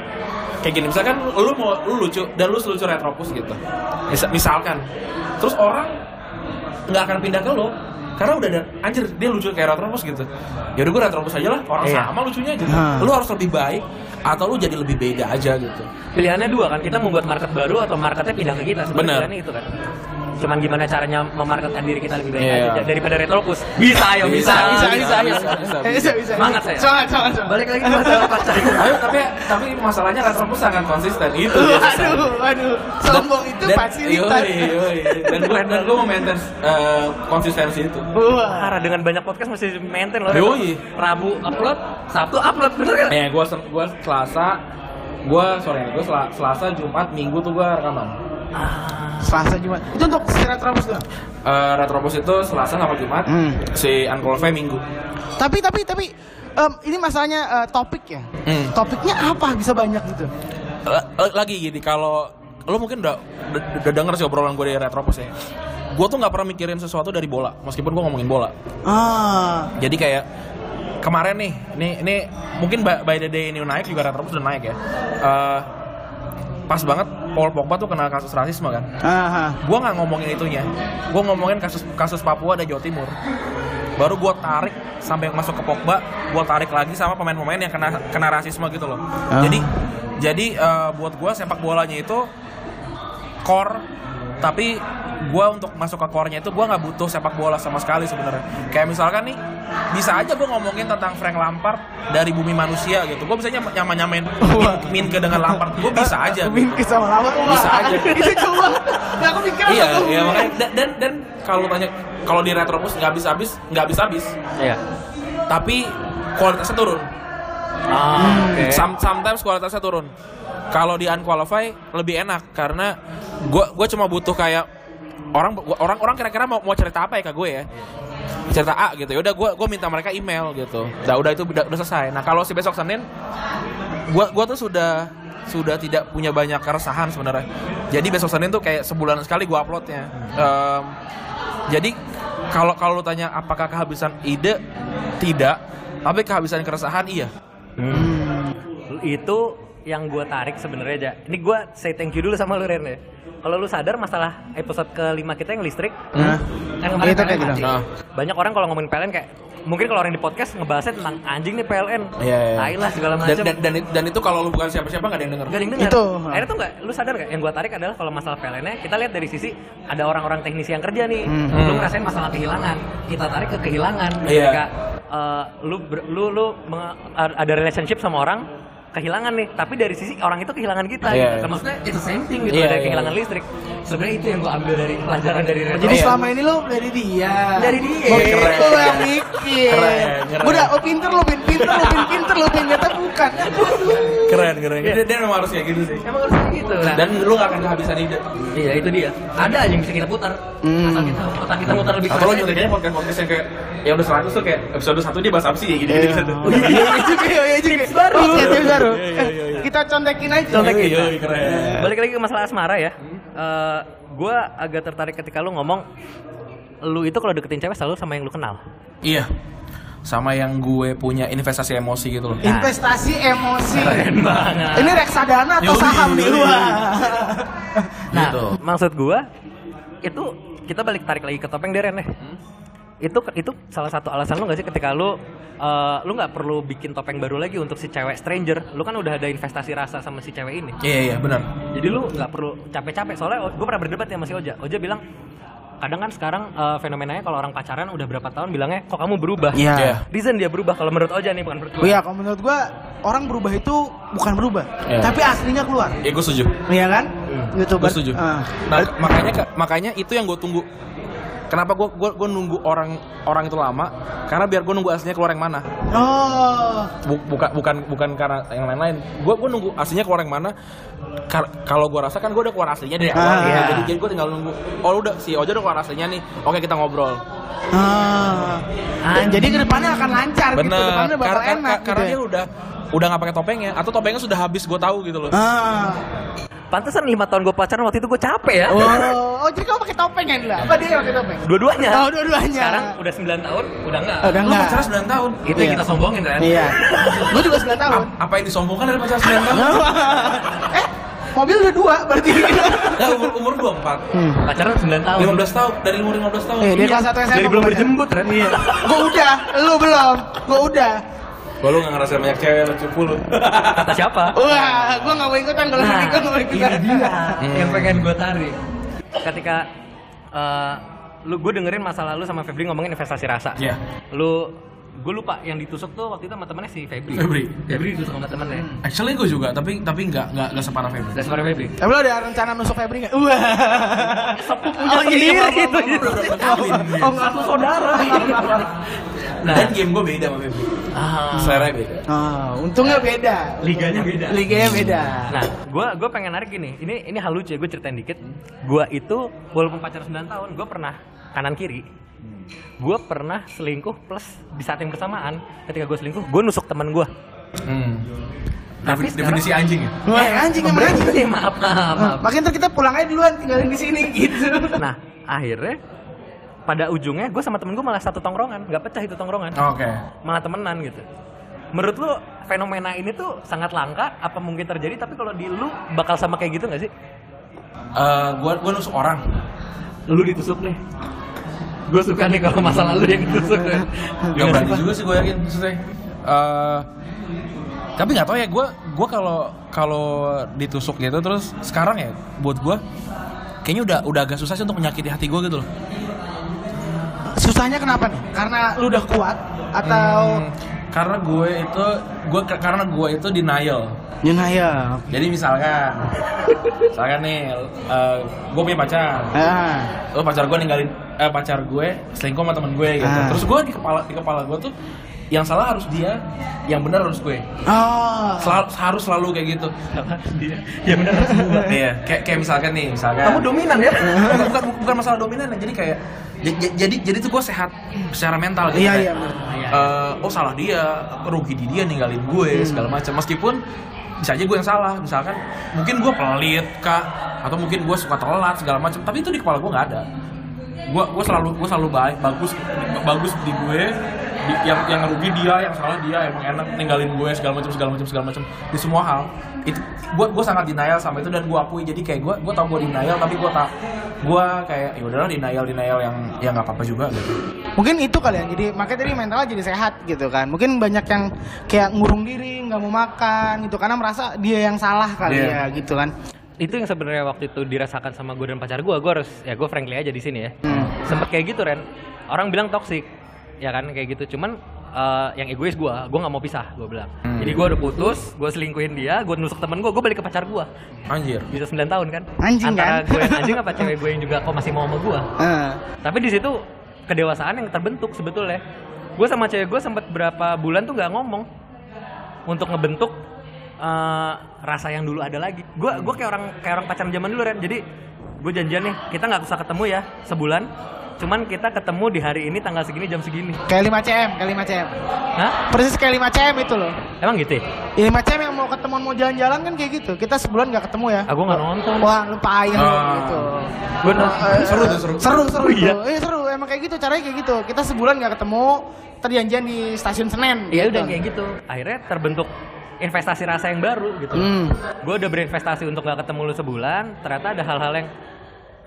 Speaker 3: kayak gini misalkan lu mau lu lucu dan lu lucu retropus gitu Misa- misalkan terus orang nggak akan pindah ke lu karena udah ada anjir dia lucu kayak retropus gitu ya udah gue retropus aja lah orang
Speaker 2: Iya.
Speaker 3: sama lucunya gitu
Speaker 1: Hah.
Speaker 3: lu harus lebih baik atau lu jadi lebih beda aja gitu
Speaker 2: Pilihannya dua kan, kita membuat market baru atau marketnya pindah ke kita. Sebenarnya
Speaker 3: Bener.
Speaker 2: pilihannya itu kan. Cuman gimana caranya memarketkan diri kita lebih baik
Speaker 3: Iya.
Speaker 2: aja daripada retropus. Bisa ayo bisa.
Speaker 3: Bisa, ya. bisa,
Speaker 2: ayo.
Speaker 3: bisa, bisa.
Speaker 1: Eh, bisa, bisa.
Speaker 2: Semangat saya.
Speaker 1: Semangat, semangat, semangat.
Speaker 5: Balik lagi ke masalah pacar.
Speaker 3: Ayo, tapi tapi masalahnya retropus sangat konsisten itu dia susah.
Speaker 1: Aduh, aduh. Sombong itu
Speaker 3: Dan-
Speaker 1: fasilitas.
Speaker 3: yoi, yoi. dan gue dan gue mau maintain eh, konsistensi itu
Speaker 1: Wah.
Speaker 2: Parah dengan banyak podcast masih maintain loh.
Speaker 3: Yoi.
Speaker 2: Rabu upload, Sabtu upload bener kan?
Speaker 3: Eh, gue gue Selasa, gue sore, gue Selasa, Jumat, Minggu tuh gue rekaman.
Speaker 1: Selasa Jumat. Itu untuk siaran terus doang.
Speaker 3: Eh Retropos itu Selasa sama Jumat,
Speaker 1: Hmm.
Speaker 3: si Uncle V Minggu.
Speaker 1: Tapi tapi tapi em, ini masalahnya eh, topik ya.
Speaker 3: Hmm.
Speaker 1: Topiknya apa bisa banyak gitu?
Speaker 3: L- l- Eh, lagi gini, kalau lo mungkin udah, udah, udah denger sih obrolan gue dari Retropos ya. Gue tuh nggak pernah mikirin sesuatu dari bola, meskipun gue ngomongin bola.
Speaker 1: Ah,
Speaker 3: Jadi kayak kemarin nih, ini ini mungkin by, by the day ini naik juga Retropos udah naik ya. Eh pas banget Paul Pogba tuh kena kasus rasisme kan.
Speaker 1: ah,
Speaker 3: gue nggak ngomongin itunya gue ngomongin kasus kasus Papua dan Jawa Timur baru gue tarik sampai masuk ke Pogba gue tarik lagi sama pemain-pemain yang kena kena rasisme gitu loh jadi jadi eh, buat gue sepak bolanya itu core tapi gue untuk masuk ke core-nya itu gue nggak butuh sepak bola sama sekali sebenarnya kayak misalkan nih bisa aja gue ngomongin tentang Frank Lampard dari bumi manusia gitu gue bisa nyaman nyamain min, ke dengan Lampard gue bisa aja gitu.
Speaker 1: Mimpi sama lawan. Wah,
Speaker 3: Bisa aja.
Speaker 1: itu coba. Nah, aku mikir
Speaker 3: Iya,
Speaker 1: apa tuh?
Speaker 3: iya makanya dan dan, dan kalau tanya kalau di Retropus nggak habis habis, nggak habis habis,
Speaker 2: Iya.
Speaker 3: tapi kualitasnya turun.
Speaker 2: Ah, oke.
Speaker 3: Some- sometimes kualitasnya turun. Kalau di unqualify lebih enak karena gua gua cuma butuh kayak orang gua- orang orang kira-kira mau mau cerita apa ya ke gue ya cerita A gitu ya udah gue gue minta mereka email gitu udah udah itu udah, udah selesai nah kalau si besok Senin gua gua tuh sudah sudah tidak punya banyak keresahan sebenarnya jadi besok Senin tuh kayak sebulan sekali gua uploadnya Em, jadi kalau kalau lu tanya apakah kehabisan ide tidak tapi kehabisan keresahan iya
Speaker 2: Itu yang gue tarik sebenarnya aja. Ini gue say thank you dulu sama lu Ren ya. Kalau lu sadar masalah episode kelima kita yang listrik,
Speaker 1: Nah,
Speaker 3: Hmm?
Speaker 2: kan kemarin
Speaker 1: Itu kayak
Speaker 2: PLN
Speaker 1: gitu.
Speaker 2: anjing. Banyak orang kalau ngomongin PLN kayak mungkin kalau orang di podcast ngebahasnya tentang anjing nih PLN,
Speaker 3: Iya, iya.
Speaker 2: tai lah segala
Speaker 3: dan
Speaker 2: macam.
Speaker 3: dan dan, dan itu kalau lu bukan siapa-siapa nggak ada yang denger
Speaker 2: Gak ada yang dengar.
Speaker 1: Itu.
Speaker 2: Akhirnya tuh nggak, lu sadar nggak? Yang gua tarik adalah kalau masalah PLN-nya, kita lihat dari sisi ada orang-orang teknisi yang kerja nih,
Speaker 3: Mhm.
Speaker 2: lu ngerasain masalah kehilangan, kita tarik ke kehilangan.
Speaker 3: Iya.
Speaker 2: Ketika eh, lu ber- lu lu menge- ada relationship sama orang kehilangan nih, tapi dari sisi orang itu kehilangan kita.
Speaker 3: Iya,
Speaker 2: gitu.
Speaker 3: iya.
Speaker 2: Maksudnya itu same thing gitu,
Speaker 3: Iya,
Speaker 2: ada
Speaker 3: iya.
Speaker 2: kehilangan listrik. Sebenarnya itu yang gua ambil dari pelajaran dari Retro.
Speaker 1: Jadi
Speaker 3: Iya.
Speaker 1: selama ini lo dari dia.
Speaker 2: Dari dia.
Speaker 1: Oh, gitu
Speaker 3: Keren.
Speaker 1: yang mikir.
Speaker 3: Keren, keren.
Speaker 1: Udah, oh pinter lo, pin pinter lo, pin pinter lo, pin ternyata bukan.
Speaker 3: keren keren dia, dia memang harus kayak gitu sih
Speaker 2: Emang harus kayak gitu. Nah,
Speaker 3: dan lu nggak akan kehabisan ide
Speaker 2: iya itu dia. Ada aja yang bisa kita putar. Asal
Speaker 3: Hmm.
Speaker 2: kita otak kita mutar lebih
Speaker 3: atau lu
Speaker 2: keras aja.
Speaker 3: nyeritain podcast podcast yang kayak yang udah 100 tuh kayak episode 1 dia bahas apa sih ya gini gini gitu
Speaker 1: Oh, Iya iya juga, iya juga.
Speaker 2: baru.
Speaker 1: Oke, tips baru.
Speaker 3: Iya,
Speaker 1: Eh, Kita contekin aja. Iya,
Speaker 2: Contekin.
Speaker 3: Yoi, yoi, Iya, keren
Speaker 2: Balik lagi ke masalah asmara ya. Eh gue agak tertarik ketika lu ngomong lu itu kalau deketin cewek selalu sama yang lu kenal.
Speaker 3: iya sama yang gue punya investasi emosi
Speaker 1: Iya.
Speaker 3: gitu loh
Speaker 1: Investasi emosi.
Speaker 2: banget.
Speaker 1: Ini reksadana atau
Speaker 3: Yoi,
Speaker 1: saham nih?
Speaker 3: yoi.
Speaker 1: Wah.
Speaker 2: Nah,
Speaker 3: Gitu.
Speaker 2: maksud gue itu kita balik tarik lagi ke topeng Deren deh. Itu itu salah satu alasan lu gak sih ketika lu eh, lu nggak perlu bikin topeng baru lagi untuk si cewek stranger. Lu kan udah ada investasi rasa sama si cewek ini.
Speaker 3: iya iya benar
Speaker 2: Jadi lu nggak perlu capek-capek soalnya gue pernah berdebat ya sama si Oja. Oja bilang kadang kan sekarang eh, fenomenanya kalau orang pacaran udah berapa tahun bilangnya kok kamu berubah.
Speaker 1: Iya.
Speaker 3: Iya.
Speaker 2: Reason dia berubah kalau menurut Oja nih bukan menurut gue.
Speaker 1: Iya, kalau menurut gua orang berubah itu bukan berubah,
Speaker 3: Iya.
Speaker 1: tapi aslinya keluar.
Speaker 3: ya gue setuju
Speaker 1: Iya kan? Gitu
Speaker 3: gue
Speaker 1: Bar-
Speaker 3: setuju
Speaker 1: Ah.
Speaker 3: nah makanya makanya itu yang gue tunggu kenapa gue gue gue nunggu orang orang itu lama karena biar gue nunggu aslinya keluar yang mana
Speaker 1: Oh.
Speaker 3: Bu- bukan bukan bukan karena yang lain-lain. Gue gue nunggu aslinya keluar yang mana. Kar- kalau gue rasa kan gue udah keluar aslinya dari awal.
Speaker 1: Ah.
Speaker 3: gitu. Jadi, jadi gue tinggal nunggu. Oh lu udah si Oja udah keluar aslinya nih. Oke kita ngobrol.
Speaker 1: Ah. Dan jadi kedepannya akan lancar gitu,
Speaker 3: Iya. Bener.
Speaker 1: kedepannya bakal
Speaker 3: Karena
Speaker 1: enak
Speaker 3: karena
Speaker 1: gitu.
Speaker 3: dia udah udah nggak pakai topengnya atau topengnya sudah habis gue tahu gitu loh.
Speaker 1: Ah.
Speaker 2: Pantesan lima tahun gue pacaran waktu itu gue capek ya.
Speaker 1: Oh, oh, jadi kamu pakai topeng ya lah? Apa dia yang pakai topeng?
Speaker 2: Dua-duanya.
Speaker 1: Oh, dua-duanya.
Speaker 2: Sekarang udah 9 tahun, udah enggak.
Speaker 1: Oh, udah
Speaker 3: Lu
Speaker 1: enggak.
Speaker 3: pacaran 9 tahun.
Speaker 2: Itu
Speaker 1: Iya.
Speaker 2: yang kita sombongin kan.
Speaker 1: Iya. Gue juga 9 tahun.
Speaker 3: A- apa yang disombongkan dari pacaran 9 tahun?
Speaker 1: eh, mobil udah dua berarti.
Speaker 3: Nah, umur, umur 24.
Speaker 1: hmm.
Speaker 2: Pacaran 9 tahun.
Speaker 3: 15 tahun, dari umur 15 tahun. Iya.
Speaker 1: Eh, dia kelas 1 SMA.
Speaker 2: Dari belum berjembut kan. Iya.
Speaker 1: Gue udah, lu belum. Gue udah.
Speaker 3: Gua lu gak ngerasa banyak cewek lu cupu lu.
Speaker 2: Kata siapa?
Speaker 1: Wah, gue gak mau ikutan kalau
Speaker 2: Nah,
Speaker 1: nanti gue gak mau
Speaker 2: ini
Speaker 1: ikutan.
Speaker 2: dia
Speaker 3: Hmm.
Speaker 2: yang pengen gue tarik. Ketika eh, lu gue dengerin masa lalu sama Febri ngomongin investasi rasa.
Speaker 3: Iya.
Speaker 2: Lu gue lupa yang ditusuk tuh waktu itu sama temennya si Febri.
Speaker 3: Febri, iya.
Speaker 2: Febri ditusuk sama temennya.
Speaker 3: Actually gue juga, tapi tapi nggak nggak nggak separah Febri.
Speaker 2: Dan suara Febri.
Speaker 1: Tapi lo Eh, ada rencana nusuk Febri nggak? Wah.
Speaker 2: Sepupunya sendiri Oh, iya, itu. itu.
Speaker 1: Oh, nggak satu saudara.
Speaker 2: Nah,
Speaker 3: Dan game gue beda sama Febri.
Speaker 2: ah.
Speaker 3: Selera beda.
Speaker 1: Ah, untungnya beda.
Speaker 2: liganya beda.
Speaker 1: Liganya beda.
Speaker 2: Nah, gue gue pengen narik gini. Ini ini hal lucu ya. Gue ceritain dikit. Gue itu walaupun pacaran 9 tahun, gue pernah kanan kiri. Gue pernah selingkuh plus di saat yang bersamaan ketika gue selingkuh, gue nusuk teman gue.
Speaker 3: Hmm.
Speaker 2: Tapi Nah,
Speaker 3: Defin- definisi anjing ya.
Speaker 1: Wah, Eh, anjing emang anjing.
Speaker 2: Berarti Eh, maaf maaf. maaf.
Speaker 1: Makanya ntar kita pulang aja duluan, tinggalin di sini gitu.
Speaker 2: Nah, akhirnya pada ujungnya gue sama temen gue malah satu tongkrongan, nggak pecah itu tongkrongan,
Speaker 3: Oke.
Speaker 2: malah temenan gitu. Menurut lu fenomena ini tuh sangat langka apa mungkin terjadi tapi kalau di lu bakal sama kayak gitu nggak sih?
Speaker 3: Eh, gue gue nusuk orang.
Speaker 2: lu ditusuk nih gue suka nih kalau masa lalu yang ditusuk ya. Iya. nih.
Speaker 3: Gak berani juga sih gue yakin maksudnya. Eh, tapi nggak tahu ya gue gue kalau kalau ditusuk gitu terus sekarang ya buat gue kayaknya udah udah agak susah sih untuk menyakiti hati gue gitu loh.
Speaker 1: Susahnya kenapa nih? Karena lu udah kuat atau
Speaker 3: Hmm, karena gue itu gue karena gue itu denial.
Speaker 1: Nyengayap.
Speaker 3: Jadi misalkan, misalkan nih, gue punya pacar,
Speaker 1: Ah.
Speaker 3: terus pacar gue ninggalin, eh, pacar gue selingkuh sama temen gue gitu.
Speaker 1: Ah.
Speaker 3: Terus gue di kepala di kepala gue tuh yang salah harus dia, yang benar harus gue.
Speaker 1: Oh.
Speaker 3: Selalu, harus selalu kayak gitu.
Speaker 2: ya benar
Speaker 3: Iya. Kayak kayak misalkan nih, misalkan.
Speaker 2: kamu dominan ya
Speaker 3: bukan, bukan, bukan masalah dominan ya, jadi kayak j- j- jadi jadi tuh gue sehat secara mental gitu
Speaker 1: Iya,
Speaker 3: kayak,
Speaker 1: iya, bener.
Speaker 3: eh, oh salah dia rugi di dia ninggalin
Speaker 1: Hmm.
Speaker 3: gue segala macam meskipun bisa aja gue yang salah misalkan mungkin gue pelit kak atau mungkin gue suka telat segala macam tapi itu di kepala gue nggak ada gue gue selalu gue selalu baik bagus bagus di gue di- yang yang rugi dia yang salah dia emang enak ninggalin gue segala macam segala macam segala macam di semua hal itu gue gue sangat denial sama itu dan gue akui jadi kayak gue gue tau gue denial tapi gue tak gue kayak ya udahlah denial denial yang yang nggak apa apa juga gitu
Speaker 1: Mungkin itu kali ya. Jadi makanya tadi mental jadi sehat gitu kan. Mungkin banyak yang kayak ngurung diri, nggak mau makan gitu karena merasa dia yang salah kali
Speaker 3: Iya.
Speaker 1: ya gitu kan.
Speaker 2: itu yang sebenarnya waktu itu dirasakan sama gue dan pacar gue gue harus ya gue frankly aja di sini ya
Speaker 1: Hmm.
Speaker 2: sempet kayak gitu Ren orang bilang toxic ya kan kayak gitu cuman eh, yang egois gue gue nggak mau pisah gue bilang jadi gue udah putus gue selingkuhin dia gue nusuk temen gue gue balik ke pacar gue
Speaker 3: anjir
Speaker 2: bisa 9 tahun kan
Speaker 1: Anjing,
Speaker 2: antara
Speaker 1: kan?
Speaker 2: gue yang anjing apa cewek gue yang juga kok masih mau sama gue
Speaker 1: Eh.
Speaker 2: Tapi di situ kedewasaan yang terbentuk sebetulnya. Gue sama cewek gue sempet berapa bulan tuh nggak ngomong untuk ngebentuk eh, rasa yang dulu ada lagi. Gue gue kayak orang kayak orang pacaran zaman dulu Ren. Jadi gue janjian nih kita nggak usah ketemu ya sebulan. Cuman kita ketemu di hari ini tanggal segini jam segini.
Speaker 1: Kayak 5 CM, kayak 5 CM.
Speaker 2: Hah?
Speaker 1: Persis kayak 5 CM itu loh.
Speaker 2: Emang gitu? ya?
Speaker 1: Ya, 5 CM yang mau ketemuan mau jalan-jalan kan kayak gitu. Kita sebulan nggak ketemu ya.
Speaker 2: Ah, gua nggak nonton.
Speaker 1: Wah, lupa air
Speaker 3: Ah.
Speaker 1: gitu.
Speaker 2: Gua nonton.
Speaker 1: Eh,
Speaker 3: Seru tuh, seru.
Speaker 1: Seru, seru.
Speaker 2: Oh, iya.
Speaker 1: tuh. Iya, seru. Emang kayak gitu caranya kayak gitu. Kita sebulan nggak ketemu, terjanjian di stasiun Senen.
Speaker 2: Iya udah
Speaker 1: gitu.
Speaker 2: kayak gitu. Akhirnya terbentuk investasi rasa yang baru gitu.
Speaker 1: Hmm.
Speaker 2: gue udah berinvestasi untuk gak ketemu lu sebulan ternyata ada hal-hal yang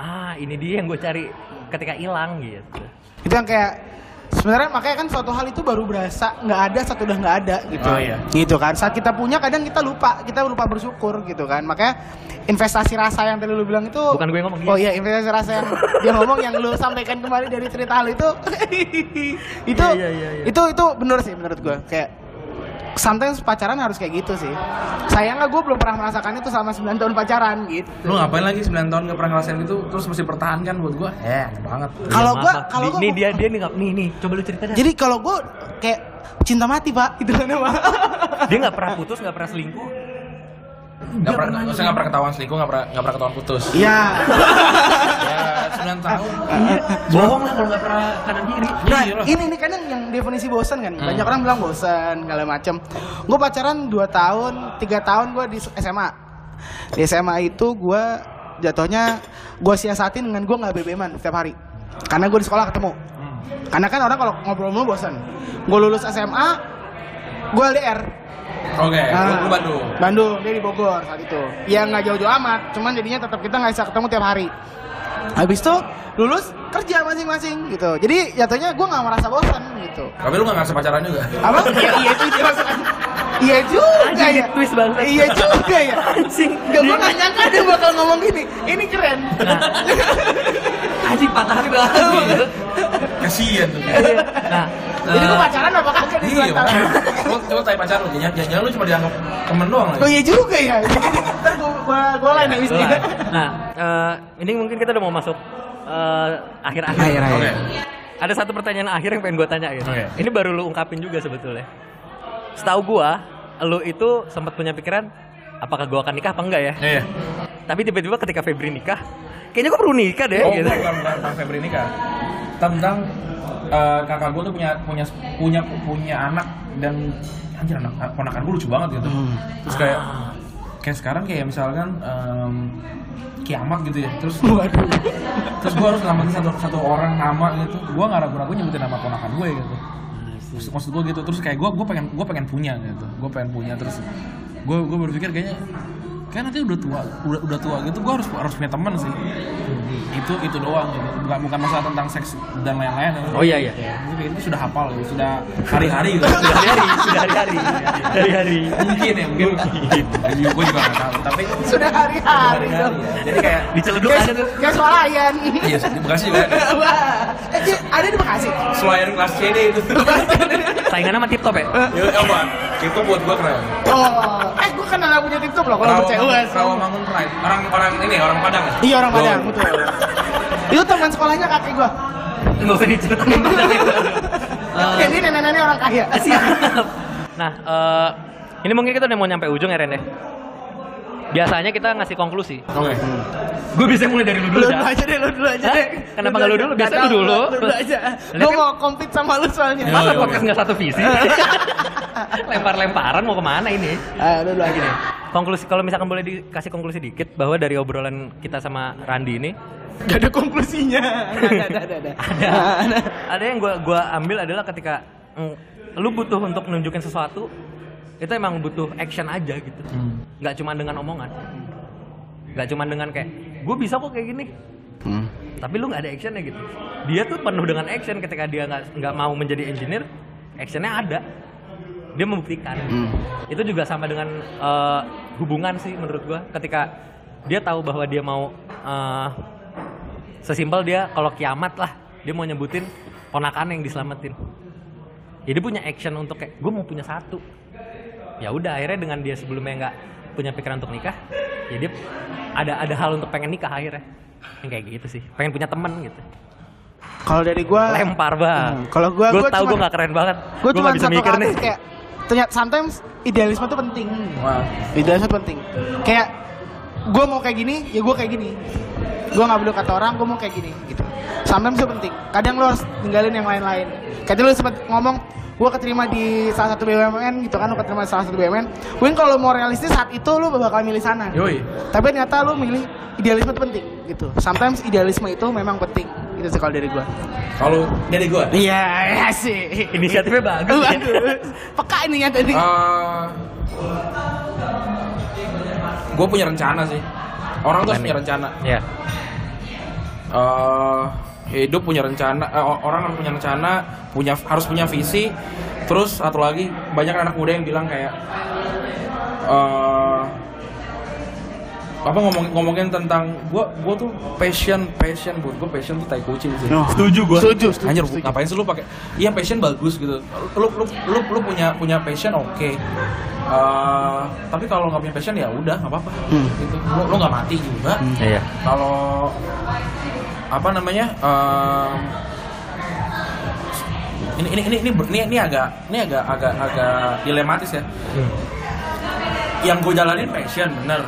Speaker 2: ah ini dia yang gue cari ketika hilang gitu
Speaker 1: itu yang kayak sebenarnya makanya kan suatu hal itu baru berasa nggak ada satu udah nggak ada gitu
Speaker 3: Oh, iya.
Speaker 1: gitu kan saat kita punya kadang kita lupa kita lupa bersyukur gitu kan makanya investasi rasa yang tadi lu bilang itu
Speaker 2: Bukan gue yang ngomong, dia.
Speaker 1: oh iya investasi rasa yang dia ngomong yang lu sampaikan kembali dari cerita lu itu itu
Speaker 2: Iya, iya, iya, iya.
Speaker 1: itu itu bener sih menurut gue kayak sometimes pacaran harus kayak gitu sih sayangnya gue belum pernah merasakan itu selama 9 tahun pacaran gitu
Speaker 3: lu ngapain lagi 9 tahun gak pernah ngerasain gitu terus mesti pertahankan buat gue eh banget
Speaker 1: kalau
Speaker 2: Iya, Maaf,
Speaker 1: gue
Speaker 2: maaf.
Speaker 1: kalau
Speaker 2: Di-
Speaker 1: gue
Speaker 2: nih dia dia nih nggak- nih nih coba lu cerita dah.
Speaker 1: jadi kalau gue kayak cinta mati pak gitu kan Pak.
Speaker 2: dia nggak pernah putus nggak pernah selingkuh
Speaker 3: nggak pernah maksudnya nggak pernah ketahuan selingkuh nggak pernah nggak pernah ketahuan putus
Speaker 1: Iya.
Speaker 3: ya 9 tahun
Speaker 2: bohong lah kalau nggak pernah kanan kiri
Speaker 1: Nah,
Speaker 3: Iya lah. Hmm.
Speaker 1: ini ini kadang yang definisi bosan kan. Banyak orang bilang bosan segala macam. Gue pacaran 2 tahun, 3 tahun gue di SMA. Di SMA itu gue jatuhnya gue siasatin dengan gue nggak BBM-an setiap hari. Karena gue di sekolah ketemu.
Speaker 3: Hmm.
Speaker 1: Karena kan orang kalau ngobrol mulu bosan. Gue lulus SMA, gue LDR.
Speaker 3: Oke, lu
Speaker 1: Nah,
Speaker 3: lu Eh, Bandung.
Speaker 1: Bandung, dia di Bogor saat itu. Ya nggak jauh-jauh amat, cuman jadinya tetap kita nggak bisa ketemu tiap hari. Habis itu lulus kerja masing-masing gitu. Jadi jatuhnya gue nggak merasa bosan gitu.
Speaker 3: Tapi lu gak ngerasa pacaran juga?
Speaker 1: Apa? Iya, iya itu itu maksudnya. Iya juga
Speaker 2: Anjing,
Speaker 1: ya.
Speaker 2: twist banget.
Speaker 1: Iya juga ya.
Speaker 2: Anjing.
Speaker 1: Gak gue nggak nyangka dia bakal ngomong gini. Ini keren.
Speaker 2: Anjing patah hati
Speaker 4: Gitu.
Speaker 2: banget.
Speaker 3: Kasian tuh.
Speaker 2: Nah,
Speaker 1: Jadi gue pacaran apa kagak di
Speaker 3: Iya,
Speaker 1: Kelantan?
Speaker 3: lu coba tanya pacar lu, jangan jangan lu cuma dianggap temen doang
Speaker 1: Oh
Speaker 3: lagi.
Speaker 1: iya juga ya. Ntar gue gue lain ya, abis ini.
Speaker 4: Nah, eh, ini mungkin kita udah mau masuk eh, akhir-akhir.
Speaker 3: Oke. Iya,
Speaker 4: Ada satu pertanyaan akhir yang pengen gue tanya gitu.
Speaker 3: Oke.
Speaker 4: Ini baru lu ungkapin juga sebetulnya. Setahu gua, lu itu sempat punya pikiran apakah gua akan nikah apa enggak ya?
Speaker 3: Iya.
Speaker 4: Tapi tiba-tiba ketika Febri nikah, kayaknya gua perlu nikah deh
Speaker 3: Oh,
Speaker 4: gitu.
Speaker 3: bukan bukan tentang Febri nikah. Tentang eh, kakak gue tuh punya punya punya punya anak dan anjir anak ponakan gue lucu banget gitu. Terus kayak
Speaker 4: Ah.
Speaker 3: kayak sekarang kayak misalkan em, kiamat gitu ya. Terus terus gue harus ngamatin satu satu orang nama gitu. Gue nggak ragu-ragu nyebutin nama ponakan gue
Speaker 4: Ah,
Speaker 3: gitu. Terus maksud gue gitu. Terus kayak gue gue pengen gue pengen punya gitu. Gue pengen punya terus gue gue berpikir kayaknya kayak nanti udah tua udah, udah tua gitu gue harus harus punya teman sih
Speaker 4: Hmm.
Speaker 3: itu itu doang gitu bukan bukan masalah tentang seks dan lain-lain
Speaker 4: Oh iya iya.
Speaker 3: gue pikir itu sudah hafal gitu sudah hari-hari gitu
Speaker 4: Sudah hari-hari, sudah hari-hari. Dari hari.
Speaker 3: mungkin ya mungkin gue juga nggak tahu tapi
Speaker 1: Sudah hari-hari dong.
Speaker 3: hari-hari ya. jadi kayak
Speaker 4: Diceleduk
Speaker 1: Kayak
Speaker 4: aja tuh.
Speaker 1: kayak suara ayam.
Speaker 3: iya terima kasih juga
Speaker 1: Wah, eh, dia ada di Bekasi.
Speaker 3: selain kelas CD itu
Speaker 4: Saingannya sama tip top ya?
Speaker 3: ya apa itu buat gue keren
Speaker 1: Oh, eh gue kenal lagunya TikTok loh kalau
Speaker 3: Rawa-
Speaker 1: cewek.
Speaker 3: Rawamangun Pride orang orang ini orang Padang ya?
Speaker 1: Iya orang Padang,
Speaker 3: Oh.
Speaker 1: betul. Itu teman sekolahnya kakek gue.
Speaker 2: nggak usah diceritain.
Speaker 4: Eh.
Speaker 1: Jadi nenek-nenek orang kaya.
Speaker 2: Siap.
Speaker 4: Nah, eh, ini mungkin kita udah mau nyampe ujung ya Ren ya? Biasanya kita ngasih konklusi.
Speaker 3: oke
Speaker 4: Gue bisa mulai dari lu
Speaker 1: Lu
Speaker 4: dulu
Speaker 1: dulu
Speaker 4: dah.
Speaker 1: aja deh, lu dulu aja
Speaker 4: Hah?
Speaker 1: deh.
Speaker 4: Kenapa nggak lu dulu?
Speaker 1: aja.
Speaker 4: Biasanya lu
Speaker 1: Nggak
Speaker 4: dulu.
Speaker 1: tahu, Lu dulu aja.
Speaker 4: Lihat
Speaker 1: Gue
Speaker 4: kan-
Speaker 1: mau kompet sama lu soalnya.
Speaker 3: Iya.
Speaker 4: Masa
Speaker 3: Yo, yo,
Speaker 4: podcast
Speaker 3: yo.
Speaker 4: nggak satu visi? Lempar-lemparan mau kemana ini?
Speaker 1: Eh, lu dulu aja deh.
Speaker 4: Konklusi kalau misalkan boleh dikasih konklusi dikit bahwa dari obrolan kita sama Randi ini
Speaker 1: Gak ada konklusinya. Ada, ada, ada. ada. Ada.
Speaker 4: ada yang gua gua ambil adalah ketika mm, lu butuh untuk nunjukin sesuatu itu emang butuh action aja gitu. Nggak cuma dengan omongan. Nggak cuma dengan kayak gue bisa kok kayak gini.
Speaker 1: Hmm,
Speaker 4: Tapi lu nggak ada actionnya gitu. Dia tuh penuh dengan action ketika dia nggak nggak mau menjadi engineer, actionnya ada. Dia membuktikan.
Speaker 1: hmm.
Speaker 4: Itu juga sama dengan eh, hubungan sih menurut gua ketika dia tahu bahwa dia mau eh, sesimpel dia kalau kiamat lah dia mau nyebutin ponakan yang diselamatin jadi punya action untuk kayak gue mau punya satu ya udah akhirnya dengan dia sebelumnya nggak punya pikiran untuk nikah jadi ada ada hal untuk pengen nikah akhirnya yang kayak gitu sih pengen punya temen gitu
Speaker 1: Kalau dari gue,
Speaker 4: lempar bang
Speaker 1: Hmm, kalau gua-
Speaker 4: gue
Speaker 1: gua
Speaker 4: tahu
Speaker 1: cuman-
Speaker 4: gue nggak keren banget
Speaker 1: gue
Speaker 4: Gua
Speaker 1: cuma
Speaker 4: nggak bisa
Speaker 1: satu
Speaker 4: mikir
Speaker 1: kata
Speaker 4: nih
Speaker 1: kayak ternyata sometimes idealisme tuh penting.
Speaker 3: wah
Speaker 1: Idealisme tuh penting. Kayak gue mau kayak gini, ya gue kayak gini. Gue nggak perlu kata orang, gue mau kayak gini gitu. Sometimes itu penting. Kadang lo harus tinggalin yang lain-lain. Kadang lo sempat ngomong, gue keterima di salah satu BUMN gitu kan, lo keterima di salah satu BUMN. Mungkin kalau lo mau realistis saat itu lo bakal milih sana.
Speaker 3: yoi
Speaker 1: Tapi ternyata lo milih idealisme itu penting gitu. Sometimes idealisme itu memang penting. Itu sih kalau dari gue.
Speaker 3: kalau dari gue
Speaker 1: Iya, iya sih.
Speaker 4: inisiatifnya bagus ya.
Speaker 1: Waduh, peka ini ya tadi.
Speaker 3: eh, gue punya rencana sih orang tuh harus punya rencana
Speaker 2: Iya,
Speaker 4: ya
Speaker 3: eh hidup punya rencana eh, o- orang harus punya rencana punya harus punya visi terus satu lagi banyak anak muda yang bilang kayak eh apa ngomong ngomongin tentang gua gua tuh passion passion buat gua passion tuh tai kucing sih
Speaker 1: Setuju gue. Setuju, Oh, setuju.
Speaker 3: Anjir,
Speaker 1: setuju.
Speaker 3: ngapain sih lu pakai? Iya, passion bagus gitu. Lu lu lu, lu punya punya passion oke. Eh, tapi kalau nggak punya passion ya udah nggak apa-apa.
Speaker 1: Hmm.
Speaker 3: Gitu. Lu lu nggak mati juga.
Speaker 4: iya
Speaker 3: Kalau apa namanya? eh, ini ini ini ini ini ini agak ini agak agak agak dilematis ya. Yang gue jalanin passion bener.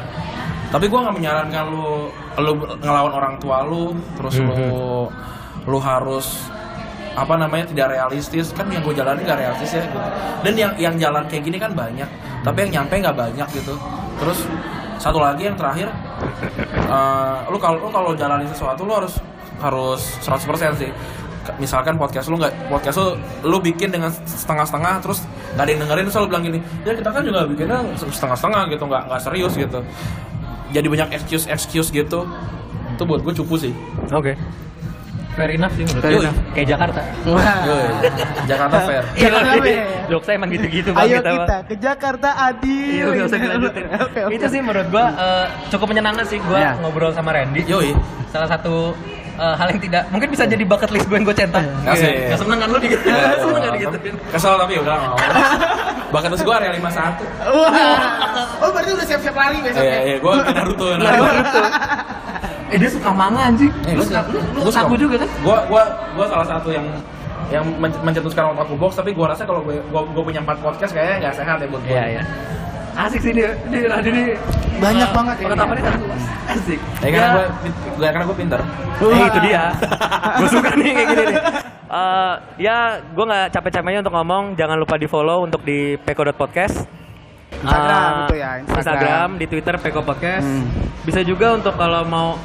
Speaker 3: Tapi gue nggak menyarankan lu lu ngelawan orang tua lu, terus lu lu harus apa namanya tidak realistis kan yang gue jalanin gak realistis ya gitu. dan yang yang jalan kayak gini kan banyak tapi yang nyampe nggak banyak gitu terus satu lagi yang terakhir eh, lu kalau lu kalau jalanin sesuatu lu harus harus 100% sih K- misalkan podcast lu nggak podcast lu lu bikin dengan setengah-setengah terus nggak ada yang dengerin terus lu bilang gini ya kita kan juga bikinnya setengah-setengah gitu nggak nggak serius gitu jadi banyak excuse excuse gitu itu buat gue cupu sih
Speaker 2: Oke.
Speaker 5: Fair enough sih menurut
Speaker 3: Fair
Speaker 5: gue.
Speaker 3: enough.
Speaker 2: Kayak Jakarta.
Speaker 3: Yoi. Jakarta fair
Speaker 1: Iya, kenapa ya?
Speaker 2: Jok saya emang gitu-gitu
Speaker 1: Ayo
Speaker 2: banget apa.
Speaker 1: kita ke Jakarta Adi.
Speaker 2: Iya, nggak usah dilanjutin.
Speaker 1: Oke, oke.
Speaker 2: Itu sih menurut gua eh, cukup menyenangkan sih gua
Speaker 1: Iya.
Speaker 2: ngobrol sama Randy.
Speaker 3: yoi
Speaker 2: Salah satu eh, hal yang tidak mungkin
Speaker 1: Iya.
Speaker 2: bisa jadi bucket list gue yang gue centang.
Speaker 3: Asik.
Speaker 2: Gak seneng kan lu di
Speaker 3: Iya,
Speaker 2: seneng kan
Speaker 3: gitu.
Speaker 1: Iya,
Speaker 2: digituin.
Speaker 3: kesel tapi udah nggak apa-apa. bahkan terus gue area 51
Speaker 1: Wah. Oh, berarti udah siap-siap lari besok
Speaker 3: Iya, iya,
Speaker 1: ya.
Speaker 3: gue Naruto, Naruto.
Speaker 2: Eh dia suka manga anjing.
Speaker 3: Eh, lu suka- lu suka-
Speaker 2: aku juga kan?
Speaker 3: Gua, gua, gua salah satu yang yang men- mencetuskan otakku box, tapi gua rasa kalau gua, gua, gua punya empat podcast kayaknya nggak sehat ya buat gua.
Speaker 2: Iya iya. Asik sih dia, dia Randy nih.
Speaker 1: Banyak
Speaker 2: eh,
Speaker 1: banget ya.
Speaker 2: Pengetahuannya satu. Asik.
Speaker 3: Ya, karena gua, gua, karena gua pinter.
Speaker 2: Eh, itu dia. gue suka nih kayak gini nih. Eh, ya, gue nggak capek-capeknya untuk ngomong. Jangan lupa di follow untuk di peko.podcast.
Speaker 1: Instagram
Speaker 2: Eh,
Speaker 1: itu ya, Instagram.
Speaker 2: Instagram, Hmm. di Twitter peko podcast. Bisa juga untuk kalau mau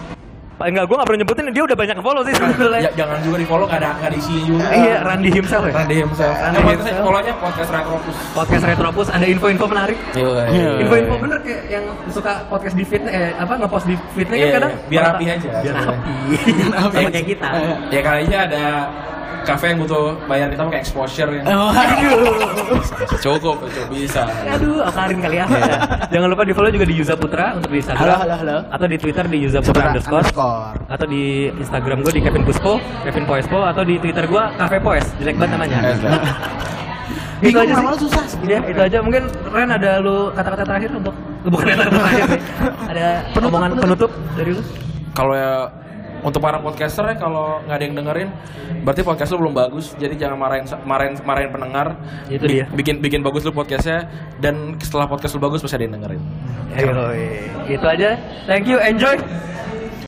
Speaker 2: Enggak, gue nggak perlu nyebutin, dia udah banyak follow sih
Speaker 3: Ya,
Speaker 2: sebetulnya.
Speaker 3: jangan juga di follow, nggak ada nggak ada isinya juga.
Speaker 2: Iya, Randy himself ya.
Speaker 3: Randy himself.
Speaker 2: Randy
Speaker 3: Yang podcast
Speaker 2: himself.
Speaker 3: follow-nya podcast Retropus.
Speaker 2: Podcast Retropus ada info-info menarik.
Speaker 3: Iya.
Speaker 2: Info-info bener kayak yang suka podcast di feed eh apa ngepost di feednya
Speaker 3: Iya,
Speaker 2: kan kadang
Speaker 3: iya. Biar rapi aja.
Speaker 2: Biar
Speaker 3: Iya.
Speaker 2: rapi.
Speaker 3: Rapi
Speaker 2: Sama
Speaker 3: aja.
Speaker 2: kayak kita.
Speaker 3: Ya kali aja ada kafe yang butuh bayar kita pakai exposure ya. yang cukup, cukup bisa.
Speaker 2: Aduh, akarin kali ya.
Speaker 3: Iya.
Speaker 2: Jangan lupa di follow juga di Yuza Putra untuk di Instagram.
Speaker 1: Halo, halo, halo.
Speaker 2: Atau di Twitter di Yuza Putra underscore.
Speaker 1: underscore.
Speaker 2: Atau di Instagram gue di Kevin Puspo, Kevin Poespo, atau di Twitter gue Cafe Poes, jelek banget namanya.
Speaker 1: Iya, Bingung, lama-lama susah sebenarnya.
Speaker 2: Iya, itu aja. Mungkin Ren ada lu kata-kata terakhir untuk bukan kata terakhir. sih. ada
Speaker 1: Penutup,
Speaker 2: omongan
Speaker 1: penutup.
Speaker 2: penutup. dari lu?
Speaker 3: kalau ya untuk para podcaster ya kalau nggak ada yang dengerin berarti podcast lu belum bagus jadi jangan marahin marahin marahin pendengar
Speaker 2: Itu
Speaker 3: Bi-
Speaker 2: dia.
Speaker 3: bikin bikin bagus lu podcastnya dan setelah podcast lu bagus pasti ada yang dengerin
Speaker 2: Ayo, itu aja. Thank you, enjoy.